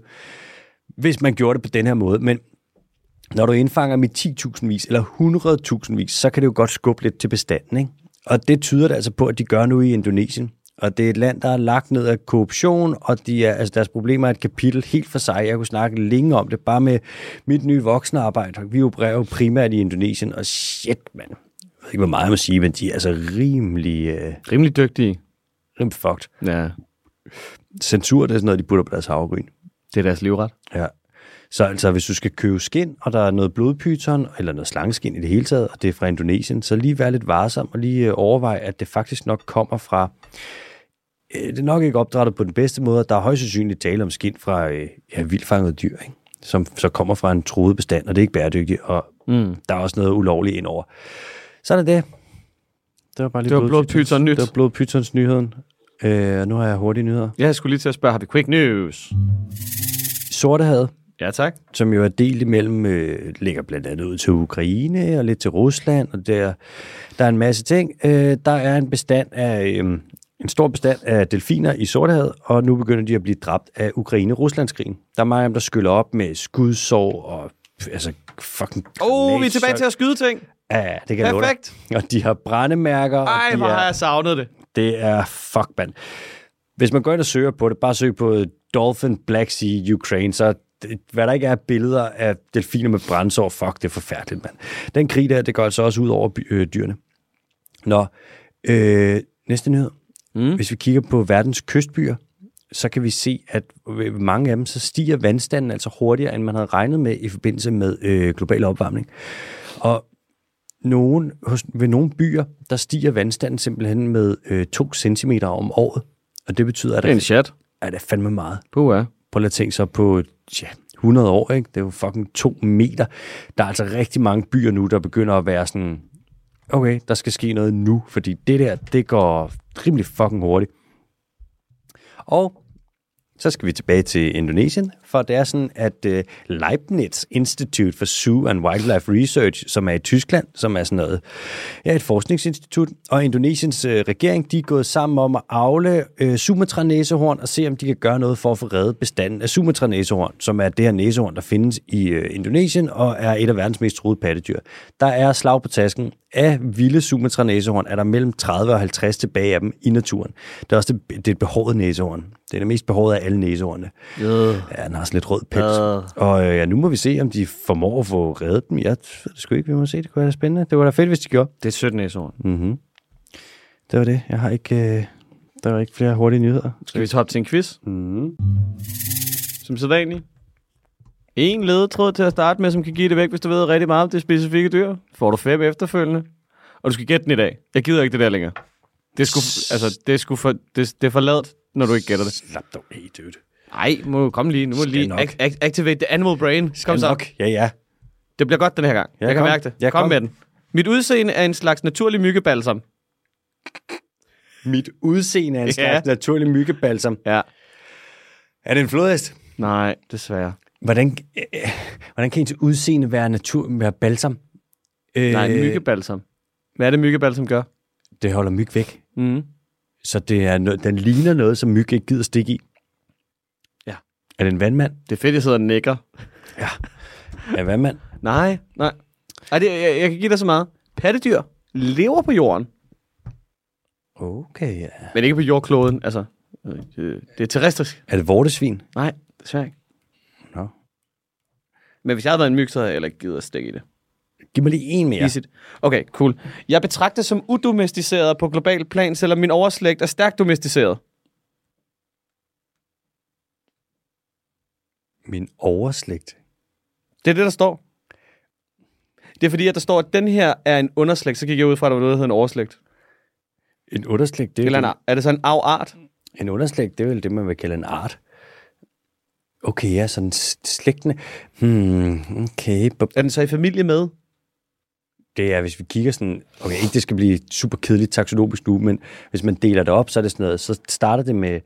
S1: hvis man gjorde det på den her måde. Men når du indfanger med 10.000 vis eller 100.000 vis, så kan det jo godt skubbe lidt til bestanden, ikke? Og det tyder det altså på, at de gør nu i Indonesien. Og det er et land, der er lagt ned af korruption, og de er, altså deres problemer er et kapitel helt for sig. Jeg kunne snakke længe om det, bare med mit nye voksne arbejde. Vi opererer jo primært i Indonesien, og shit, mand. Jeg ved ikke, hvor meget jeg må sige, men de er altså rimelig, øh,
S2: Rimelig dygtige.
S1: rimelig fucked.
S2: Ja,
S1: Censur, det er sådan noget, de putter på deres havregryn.
S2: det er deres livret.
S1: Ja. Så altså, hvis du skal købe skind, og der er noget blodpyton, eller noget slangeskin i det hele taget, og det er fra Indonesien, så lige være lidt varsom og lige øh, overvej, at det faktisk nok kommer fra... Øh, det er nok ikke opdrettet på den bedste måde, og der er højst sandsynligt tale om skind fra øh, ja, vildfangede dyr, ikke? som så kommer fra en truet bestand, og det er ikke bæredygtigt, og mm. der er også noget ulovligt indover. Så er det det. Det var bare lige
S2: Det
S1: blodpytons-
S2: var blodpyton nyt.
S1: Det var blodpytons nyheden. Øh, og nu har jeg hurtige nyheder.
S2: Ja, jeg skulle lige til at spørge, har vi quick news?
S1: Sortehavet,
S2: Ja, tak.
S1: som jo er delt imellem, øh, ligger blandt andet ud til Ukraine og lidt til Rusland, og der, der er en masse ting. Øh, der er en bestand af, øh, en stor bestand af delfiner i Sortehavet, og nu begynder de at blive dræbt af Ukraine-Ruslandskrigen. Der er mange af dem, der skyller op med skudsår og pff, altså fucking
S2: Åh, oh, vi er tilbage til
S1: at...
S2: at skyde ting.
S1: Ja, det kan jeg love dig.
S2: Perfekt.
S1: Og de har brændemærker. og
S2: Ej,
S1: de
S2: hvor
S1: er-
S2: har jeg savnet det.
S1: det er fuck, mand. Hvis man går ind og søger på det, bare søg på Dolphin Black Sea Ukraine, så det- hvad der ikke er af billeder af delfiner med brændsår, fuck, det er forfærdeligt, mand. Den krig der, det går altså også ud over by- øh, dyrene. Nå, øh, næste nyhed. Mm. Hvis vi kigger på verdens kystbyer, så kan vi se, at ved mange af dem, så stiger vandstanden altså hurtigere, end man havde regnet med i forbindelse med øh, global opvarmning. Og nogen, hos, ved nogle byer, der stiger vandstanden simpelthen med øh, 2 cm om året. Og det betyder, at
S2: Det er en
S1: det
S2: chat.
S1: er, det er fandme meget.
S2: Puh,
S1: Prøv lige at tænke så på ja, 100 år, ikke? det er jo fucking 2 meter. Der er altså rigtig mange byer nu, der begynder at være sådan, okay, der skal ske noget nu, fordi det der, det går rimelig fucking hurtigt. Og så skal vi tilbage til Indonesien, for det er sådan, at uh, Leibniz Institute for Zoo and Wildlife Research, som er i Tyskland, som er sådan noget, ja, et forskningsinstitut, og Indonesiens uh, regering, de er gået sammen om at afle uh, Sumatra-næsehorn og se, om de kan gøre noget for at få reddet bestanden af Sumatra-næsehorn, som er det her næsehorn, der findes i uh, Indonesien og er et af verdens mest truede pattedyr. Der er slag på tasken. Af vilde Sumatra-næsehorn er der mellem 30 og 50 tilbage af dem i naturen. Det er også det, det er et behåret næsehorn. Det er det mest behårede af alle næsehornene. Ja, den har også lidt rød pels. Uh. Og øh, ja, nu må vi se, om de formår at få reddet dem. Jeg ved det sgu ikke, vi må se. Det kunne være spændende. Det var da fedt, hvis de gjorde.
S2: Det er 17 næsord.
S1: Det var det. Jeg har ikke, øh, der var ikke flere hurtige nyheder.
S2: Skal vi hoppe til en quiz? Mm. Som sædvanligt. En ledetråd til at starte med, som kan give det væk, hvis du ved rigtig meget om det specifikke dyr. Får du fem efterfølgende. Og du skal gætte den i dag. Jeg gider ikke det der længere. Det er sgu, altså, det er sgu for, det, det er for ladt, når du ikke gætter det.
S1: Slap dog af, dude.
S2: Nej, må kom lige. Nu må du
S1: Skal
S2: lige
S1: nok.
S2: ak- ak- activate the animal brain. Kom så.
S1: Nok. Ja, ja.
S2: Det bliver godt den her gang.
S1: Ja,
S2: jeg kan
S1: kom.
S2: mærke det.
S1: Ja,
S2: kom,
S1: kom.
S2: med den. Mit udseende er en slags naturlig myggebalsam.
S1: Mit udseende er en slags
S2: slags
S1: ja. naturlig myggebalsam.
S2: Ja.
S1: Er det en flodhest?
S2: Nej, desværre.
S1: Hvordan, øh, øh, hvordan kan ens udseende være, natur, være balsam? Øh,
S2: Nej, myggebalsam. Hvad er det, myggebalsam gør?
S1: Det holder myg væk.
S2: Mm.
S1: Så det er no- den ligner noget, som myg ikke gider stikke i.
S2: Ja.
S1: Er det en vandmand?
S2: Det er fedt, jeg sidder og nikker.
S1: Er det en vandmand?
S2: Nej, nej. Ej, det, jeg, jeg kan give dig så meget. Pattedyr lever på jorden,
S1: Okay, ja.
S2: men ikke på jordkloden. Altså, øh, det, det er terrestrisk.
S1: Er det vortesvin?
S2: Nej, desværre ikke.
S1: Nå.
S2: Men hvis jeg havde været en myg, så havde jeg heller ikke givet at stikke i det.
S1: Giv mig lige en mere.
S2: Easy. Okay, cool. Jeg betragtes som udomesticeret på global plan, selvom min overslægt er stærkt domesticeret.
S1: Min overslægt.
S2: Det er det, der står. Det er fordi, at der står, at den her er en underslægt, så gik jeg ud fra, at der var noget, der hedder en overslægt.
S1: En underslægt, det er,
S2: Eller
S1: vel-
S2: en, er det så en afart?
S1: en underslægt, det er vel det, man vil kalde en art. Okay, ja, sådan s- slægtene. Hmm, okay. bup.
S2: Er den så i familie med?
S1: Det er, hvis vi kigger sådan... Okay, ikke det skal blive super kedeligt taksonomisk nu, men hvis man deler det op, så er det sådan noget... Så starter det med...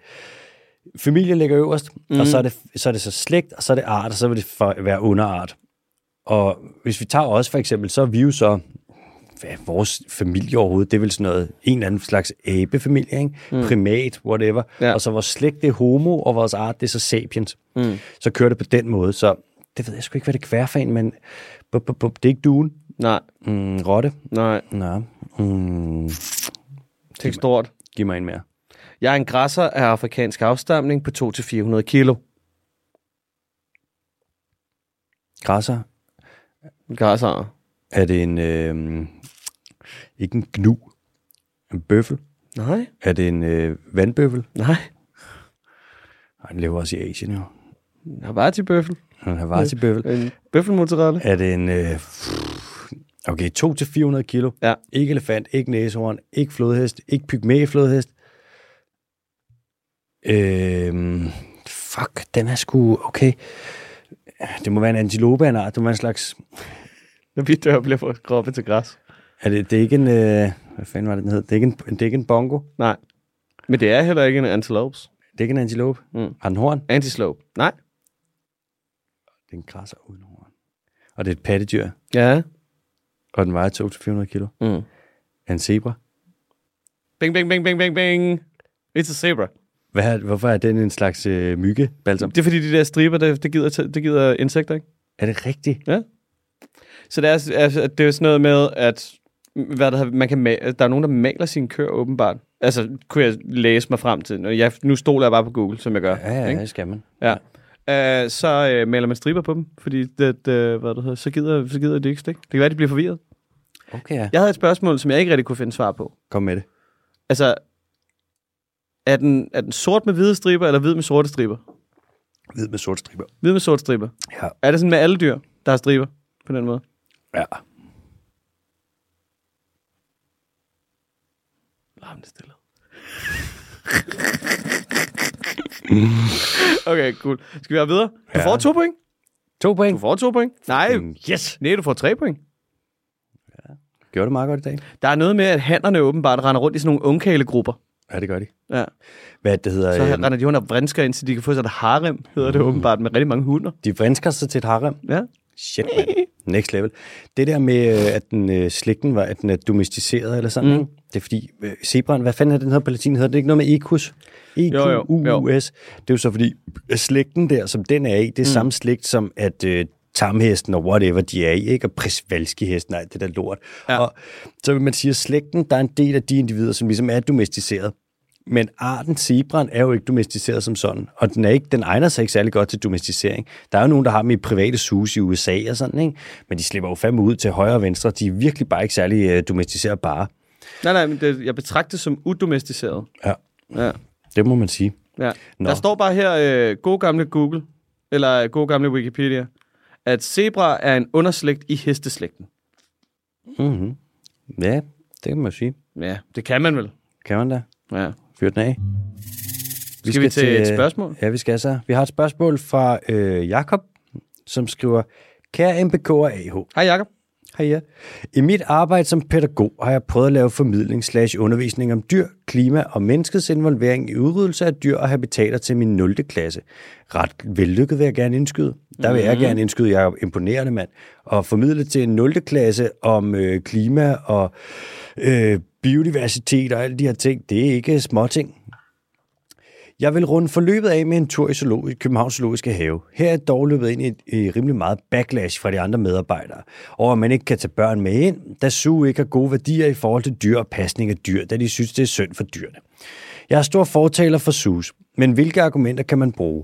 S1: Familie ligger øverst, mm. og så er, det, så er det så slægt, og så er det art, og så vil det for, være underart. Og hvis vi tager os for eksempel, så er vi jo så... Hvad er vores familie overhovedet? Det er vel sådan noget, en eller anden slags abefamilie, ikke? Mm. primat, whatever.
S2: Ja.
S1: Ja. Og så vores slægt, det er homo, og vores art, det er så sapiens. Mm. Så kører det på den måde, så det ved jeg sgu ikke, hvad det er kværfan, men bup, bup, bup, det er ikke duen.
S2: Nej,
S1: Mm, rotte.
S2: nej.
S1: Nå. Mm,
S2: Tænk stort.
S1: giv mig en mere.
S2: Jeg er en græsser af afrikansk afstamning på 2-400 kilo.
S1: Græsser.
S2: Græsser?
S1: Er det en... Øh, ikke en gnu. En bøffel.
S2: Nej.
S1: Er det en øh, vandbøffel?
S2: Nej.
S1: Ej, den lever også i Asien jo.
S2: En havarti-bøffel.
S1: En havarti-bøffel.
S2: En bøffelmozzarella.
S1: Er det en... Øh, okay, 2-400 kilo.
S2: Ja.
S1: Ikke elefant, ikke næsehorn, ikke flodhest, ikke pygmæflodhest. Øhm, fuck, den er sgu... Okay. Det må være en antilope af en art. Det må være en slags...
S2: Når vi dør, bliver vores kroppe til græs.
S1: Er det, det er ikke en... Øh, hvad fanden var det, den hed? Det er, ikke en, det er ikke en bongo.
S2: Nej. Men det er heller ikke en antilopes.
S1: Det er ikke en antilope.
S2: Mm.
S1: Mm. Har den horn?
S2: Antislope. Nej.
S1: Det er en græsser uden horn. Og det er et pattedyr,
S2: Ja.
S1: og den vejer 200-400 kilo.
S2: Mm.
S1: Er en zebra?
S2: Bing, bing, bing, bing, bing, bing. It's a zebra.
S1: Hvad, er- hvorfor er den en slags øh, myggebalsam?
S2: Det er fordi, de der striber, det, det, gider, det gider insekter, ikke?
S1: Er det rigtigt?
S2: Så det er, altså, at det er jo sådan noget med, at hvad der, man kan ma- der er nogen, der maler sine køer åbenbart. Altså, kunne jeg læse mig frem til. Og Jeg, nu stoler jeg bare på Google, som jeg gør.
S1: Ja, ja,
S2: ikke?
S1: det skal man.
S2: ja. Øh, så øh, maler man striber på dem, fordi det, øh, hvad det hedder, så, gider, så gider de ikke stikke. Det kan være, de bliver forvirret.
S1: Okay, ja.
S2: Jeg havde et spørgsmål, som jeg ikke rigtig kunne finde svar på.
S1: Kom med det.
S2: Altså, er den, er den sort med hvide striber, eller hvid med sorte striber?
S1: Hvid med sort striber.
S2: Hvid med sorte striber.
S1: Ja.
S2: Er det sådan med alle dyr, der har striber på den måde?
S1: ja.
S2: Larmende stille. <laughs> okay, cool. Skal vi have videre? Du
S1: Ja.
S2: får to point.
S1: To
S2: Du
S1: point.
S2: får to point. Nej,
S1: Mm, Yes!
S2: nej, du får tre point.
S1: Gjorde det meget godt i dag.
S2: Der er noget med, at hannerne åbenbart render rundt i sådan nogle ungkælegrupper.
S1: Ja, det gør de.
S2: Ja.
S1: Hvad er det, det hedder? øh,
S2: Så
S1: Så
S2: render de rundt og vrinsker ind, så de kan få sig et harem, hedder
S1: Mm.
S2: det åbenbart, med rigtig mange hunder.
S1: de vrinsker sig til et harem.
S2: Ja.
S1: Shit, man. Next level. Det der med, øh, at den øh, slægten var, at den er domesticeret eller sådan, mm. ikke? det er fordi, øh, zebraen, hvad fanden er den her på latin, hedder det ikke noget med E equus?
S2: Jo, jo, jo.
S1: E-Q-U-S. Det er jo så fordi, øh, slægten der, som den er i, det er mm. samme slægt som at øh, tamhesten og whatever de er i, ikke? og prisvalskihesten og alt det der lort.
S2: Ja.
S1: Ja. Og så vil man sige, at slægten, der er en del af de individer, som ligesom er domesticeret. Men arten zebraen er jo ikke domesticeret som sådan, og den, er ikke, den egner sig ikke særlig godt til domesticering. Der er jo nogen, der har dem i private sus i USA og sådan, ikke? men de slipper jo fandme ud til højre og venstre. De er virkelig bare ikke særlig øh, domesticerbare.
S2: Nej, nej, men det, jeg betragter det som udomesticeret.
S1: Ja,
S2: Ja.
S1: det må man sige.
S2: Ja.
S1: Nå.
S2: Der står bare her, øh, god gamle Google, eller øh, god gamle Wikipedia, at zebra er en underslægt i hesteslægten.
S1: Mm-hmm. Ja, det kan man jo sige.
S2: Ja, det kan man vel.
S1: Kan man da?
S2: Ja.
S1: Fyr den af.
S2: Skal vi til øh, et spørgsmål?
S1: Ja, vi skal så. Vi har et spørgsmål fra øh, Jakob, som skriver, Kære MBK og AH,
S2: Hej Jacob.
S1: Hej ja. I mit arbejde som pædagog har jeg prøvet at lave formidling slash undervisning om dyr, klima og menneskets involvering i udryddelse af dyr og habitater til min 0. klasse. Ret vellykket vil jeg gerne indskyde. Der vil
S2: Mhm.
S1: jeg gerne indskyde, jeg er imponerende mand. Og formidle til en 0. klasse om øh, klima og øh, biodiversitet og alle de her ting, det er ikke småting. Jeg vil runde forløbet af med en tur i zoologi- Københavns Zoologiske Have. Her er dog løbet ind i, et, i rimelig meget backlash fra de andre medarbejdere, over at man ikke kan tage børn med ind, da Zoo ikke har gode værdier i forhold til dyr og pasning af dyr, da de synes, det er synd for dyrene. Jeg er stor fortaler for SUS, men hvilke argumenter kan man bruge?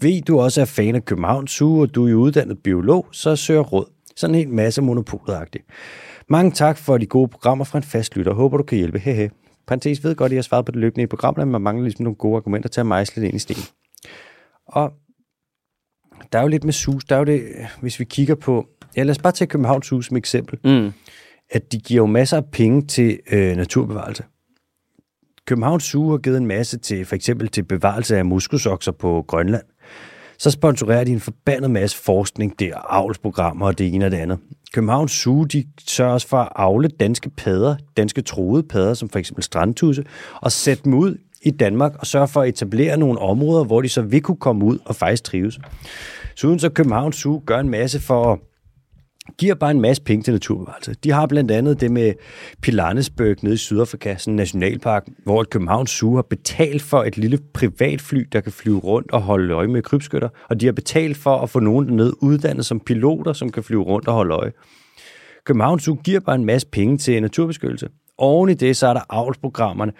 S1: Ved du også er fan af Københavns Zoo, og du er uddannet biolog, så søger råd. Sådan en hel masse monopolagtigt. Mange tak for de gode programmer fra en fast lytter. Håber, du kan hjælpe. Hehe. Parenthes ved godt, at jeg har svaret på det løbende i programmerne, men man mangler ligesom nogle gode argumenter til at mejsle det ind i sten. Og der er jo lidt med sus. Der er jo det, hvis vi kigger på... Ja, lad os bare tage Københavns Hus som eksempel.
S2: Mm.
S1: At de giver jo masser af penge til øh, naturbevarelse. Københavns Zoo har givet en masse til for eksempel til bevarelse af muskelsokser på Grønland. Så sponsorerer de en forbandet masse forskning, det er avlsprogrammer og det ene og det andet. Københavns Zoo, de sørger også for at avle danske padder, danske troede padder, som for eksempel strandtusse, og sætte dem ud i Danmark og sørge for at etablere nogle områder, hvor de så vil kunne komme ud og faktisk trives. Siden så Københavns Zoo gør en masse for at giver bare en masse penge til naturbevarelse. De har blandt andet det med Pilanesberg nede i Sydafrika, sådan en nationalpark, hvor et Københavns Zoo har betalt for et lille privatfly, der kan flyve rundt og holde øje med krybskytter, og de har betalt for at få nogen dernede uddannet som piloter, som kan flyve rundt og holde øje. Københavns Zoo giver bare en masse penge til naturbeskyttelse. Oven i det, så er der avlsprogrammerne,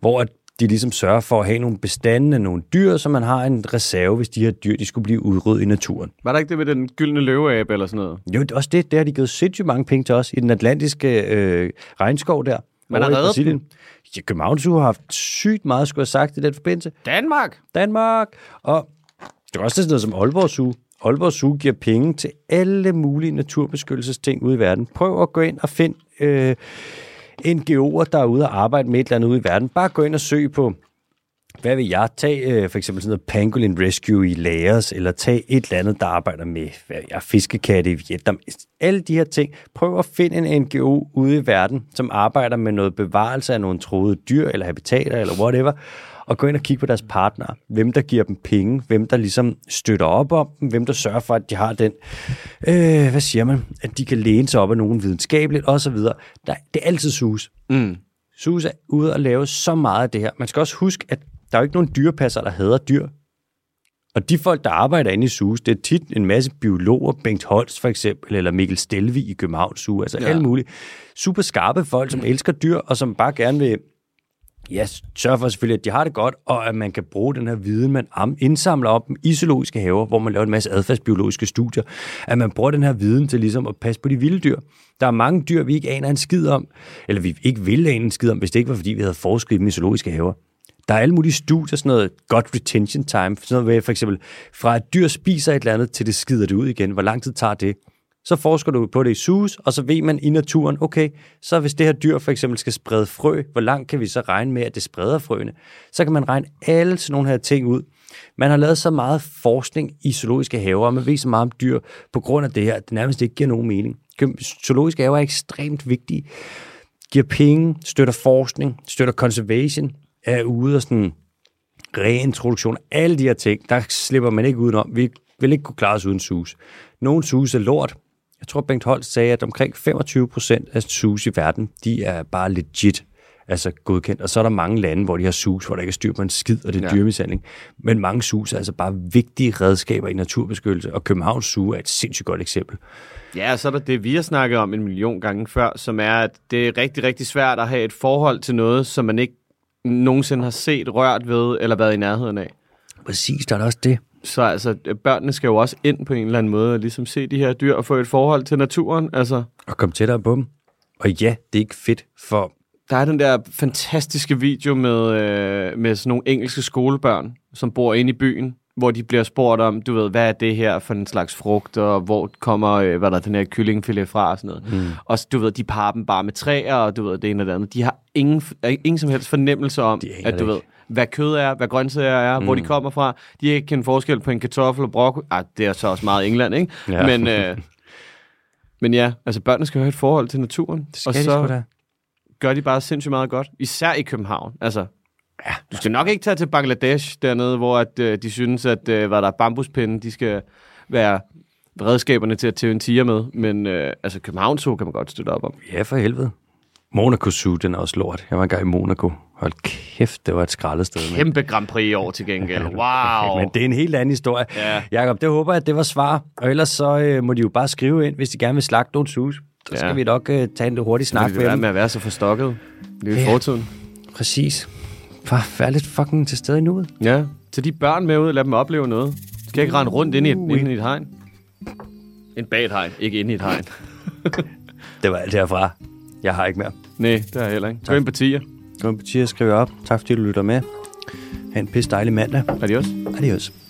S1: hvor at de ligesom sørger for at have nogle bestande af nogle dyr, så man har en reserve, hvis de her dyr de skulle blive udryddet i naturen.
S2: Var der ikke det med den gyldne løveabe eller sådan noget?
S1: Jo, det er også det, der har de givet sindssygt mange penge til os i den atlantiske øh, regnskov der.
S2: Man har
S1: Over i
S2: reddet
S1: Brasilien. Ja, København Zoo har haft sygt meget, skulle jeg have sagt, i den forbindelse.
S2: Danmark!
S1: Danmark! Og det er også sådan noget som Aalborg Zoo. Aalborg Zoo giver penge til alle mulige naturbeskyttelsesting ude i verden. Prøv at gå ind og find øh, NGO'er, der er ude og arbejde med et eller andet ude i verden. Bare gå ind og søg på hvad vil jeg tage, øh, for eksempel sådan noget pangolin rescue i Laos, eller tage et eller andet, der arbejder med hvad ved jeg, fiskekatte i Vietnam. Alle de her ting. Prøv at finde en NGO ude i verden, som arbejder med noget bevarelse af nogle troede dyr, eller habitater, eller whatever, og gå ind og kigge på deres partnere. Hvem, der giver dem penge, hvem, der ligesom støtter op om dem, hvem, der sørger for, at de har den, øh, hvad siger man, at de kan læne sig op af nogen videnskabeligt, osv. Der, det er altid sus. Sus er ude og lave så meget af det her. Man skal også huske, at der er jo ikke nogen dyrepasser, der hader dyr. Og de folk, der arbejder inde i SUS, det er tit en masse biologer, Bengt Holst for eksempel, eller Mikkel Stelvi i Københavns Zoo, altså ja.
S2: Ja.
S1: alle mulige super skarpe folk, som elsker dyr, og som bare gerne vil ja, sørge for selvfølgelig, at de har det godt, og at man kan bruge den her viden, man am- indsamler op dem i zoologiske haver, hvor man laver en masse adfærdsbiologiske studier, at man bruger den her viden til ligesom at passe på de vilde dyr. Der er mange dyr, vi ikke aner en skid om, eller vi ikke ville ane en skid om, hvis det ikke var, fordi vi havde forsket i dem i zoologiske haver. Der er alle mulige studier, sådan noget godt retention time, sådan noget med for eksempel, fra at dyr spiser et eller andet, til det skider det ud igen. Hvor lang tid tager det? Så forsker du på det i sus, og så ved man i naturen, okay, så hvis det her dyr for eksempel skal sprede frø, hvor langt kan vi så regne med, at det spreder frøene? Så kan man regne alle sådan nogle her ting ud. Man har lavet så meget forskning i zoologiske haver, og man ved så meget om dyr på grund af det her, at det nærmest ikke giver nogen mening. Kø- Zoologiske haver er ekstremt vigtige, giver penge, støtter forskning, støtter conservation, er ude og sådan reintroduktion, alle de her ting, der slipper man ikke udenom. Vi vil ikke kunne klare os uden sus. Nogle sus er lort. Jeg tror, Bengt Holst sagde, at omkring 25 procent af sus i verden, de er bare legit altså godkendt. Og så er der mange lande, hvor de har sus, hvor der ikke er styr på en skid, og det er ja. dyremishandling. Men mange sus er altså bare vigtige redskaber i naturbeskyttelse, og Københavns Zoo er et sindssygt godt eksempel.
S2: Ja, og så er der det, vi har snakket om en million gange før, som er, at det er rigtig, rigtig svært at have et forhold til noget, som man ikke nogensinde har set, rørt ved eller været i nærheden af.
S1: Præcis, der er da også det.
S2: Så altså, børnene skal jo også ind på en eller anden måde og ligesom se de her dyr og få et forhold til naturen. Altså,
S1: Og kom tættere på dem. Og ja, det er ikke fedt for
S2: der er den der fantastiske video med, øh, med sådan nogle engelske skolebørn, som bor inde i byen, hvor de bliver spurgt om, du ved, hvad er det her for en slags frugt, og hvor kommer øh, hvad der er den her kyllingfilet fra og sådan noget. Mm. Og s- du ved, de parer dem bare med træer, og du ved, det ene og det andet. De har ingen, f- øh, ingen som helst fornemmelse om,
S1: De aner
S2: at du
S1: det
S2: ved, hvad kød er, hvad grøntsager er, mm. hvor de kommer fra. De kan ikke kende forskel på en kartoffel og broccoli. Ah, det er så også meget England, ikke?
S1: Ja.
S2: Ja. Men, øh, men ja, altså børnene skal jo have et forhold til naturen. og så, gør de bare sindssygt meget godt. Især i København. Altså, ja, du skal nok ikke tage til Bangladesh dernede, hvor at, øh, de synes, at øh, hvad der er bambuspinde, de skal være redskaberne til at tæve en tiger med. Men øh, altså, København så kan man godt støtte op om.
S1: Ja, for helvede. Monaco Zoo, den er også lort. Jeg var engang i Monaco. Hold kæft, det var et skraldet sted. mand.
S2: Kæmpe Grand Prix i år til gengæld. Wow.
S1: Men det er en helt anden historie.
S2: Ja.
S1: Jakob, det håber jeg, at det var svar. Og ellers så øh, må de jo bare skrive ind, hvis de gerne vil slagte nogle sus. Så
S2: Ja.
S1: skal vi nok øh, tage en lidt hurtig snak
S2: Fordi det
S1: med
S2: er
S1: dem.
S2: med at være så forstokket. Det er jo
S1: Ja.
S2: i fortiden.
S1: Præcis. Bare vær lidt fucking til stede i nuet.
S2: Ja. Tag de børn med ud, lad dem opleve noget. Du skal ikke rende rundt ind i et, ind i et hegn. En bag et hegn, ikke inde i et hegn.
S1: Det var alt herfra. Jeg har ikke mere.
S2: Nej, det har jeg heller ikke. Gå ind på tiger.
S1: Gå på tier og skriv op. Tak fordi du lytter med. Ha' en pisse dejlig mandag.
S2: Adios.
S1: Adios.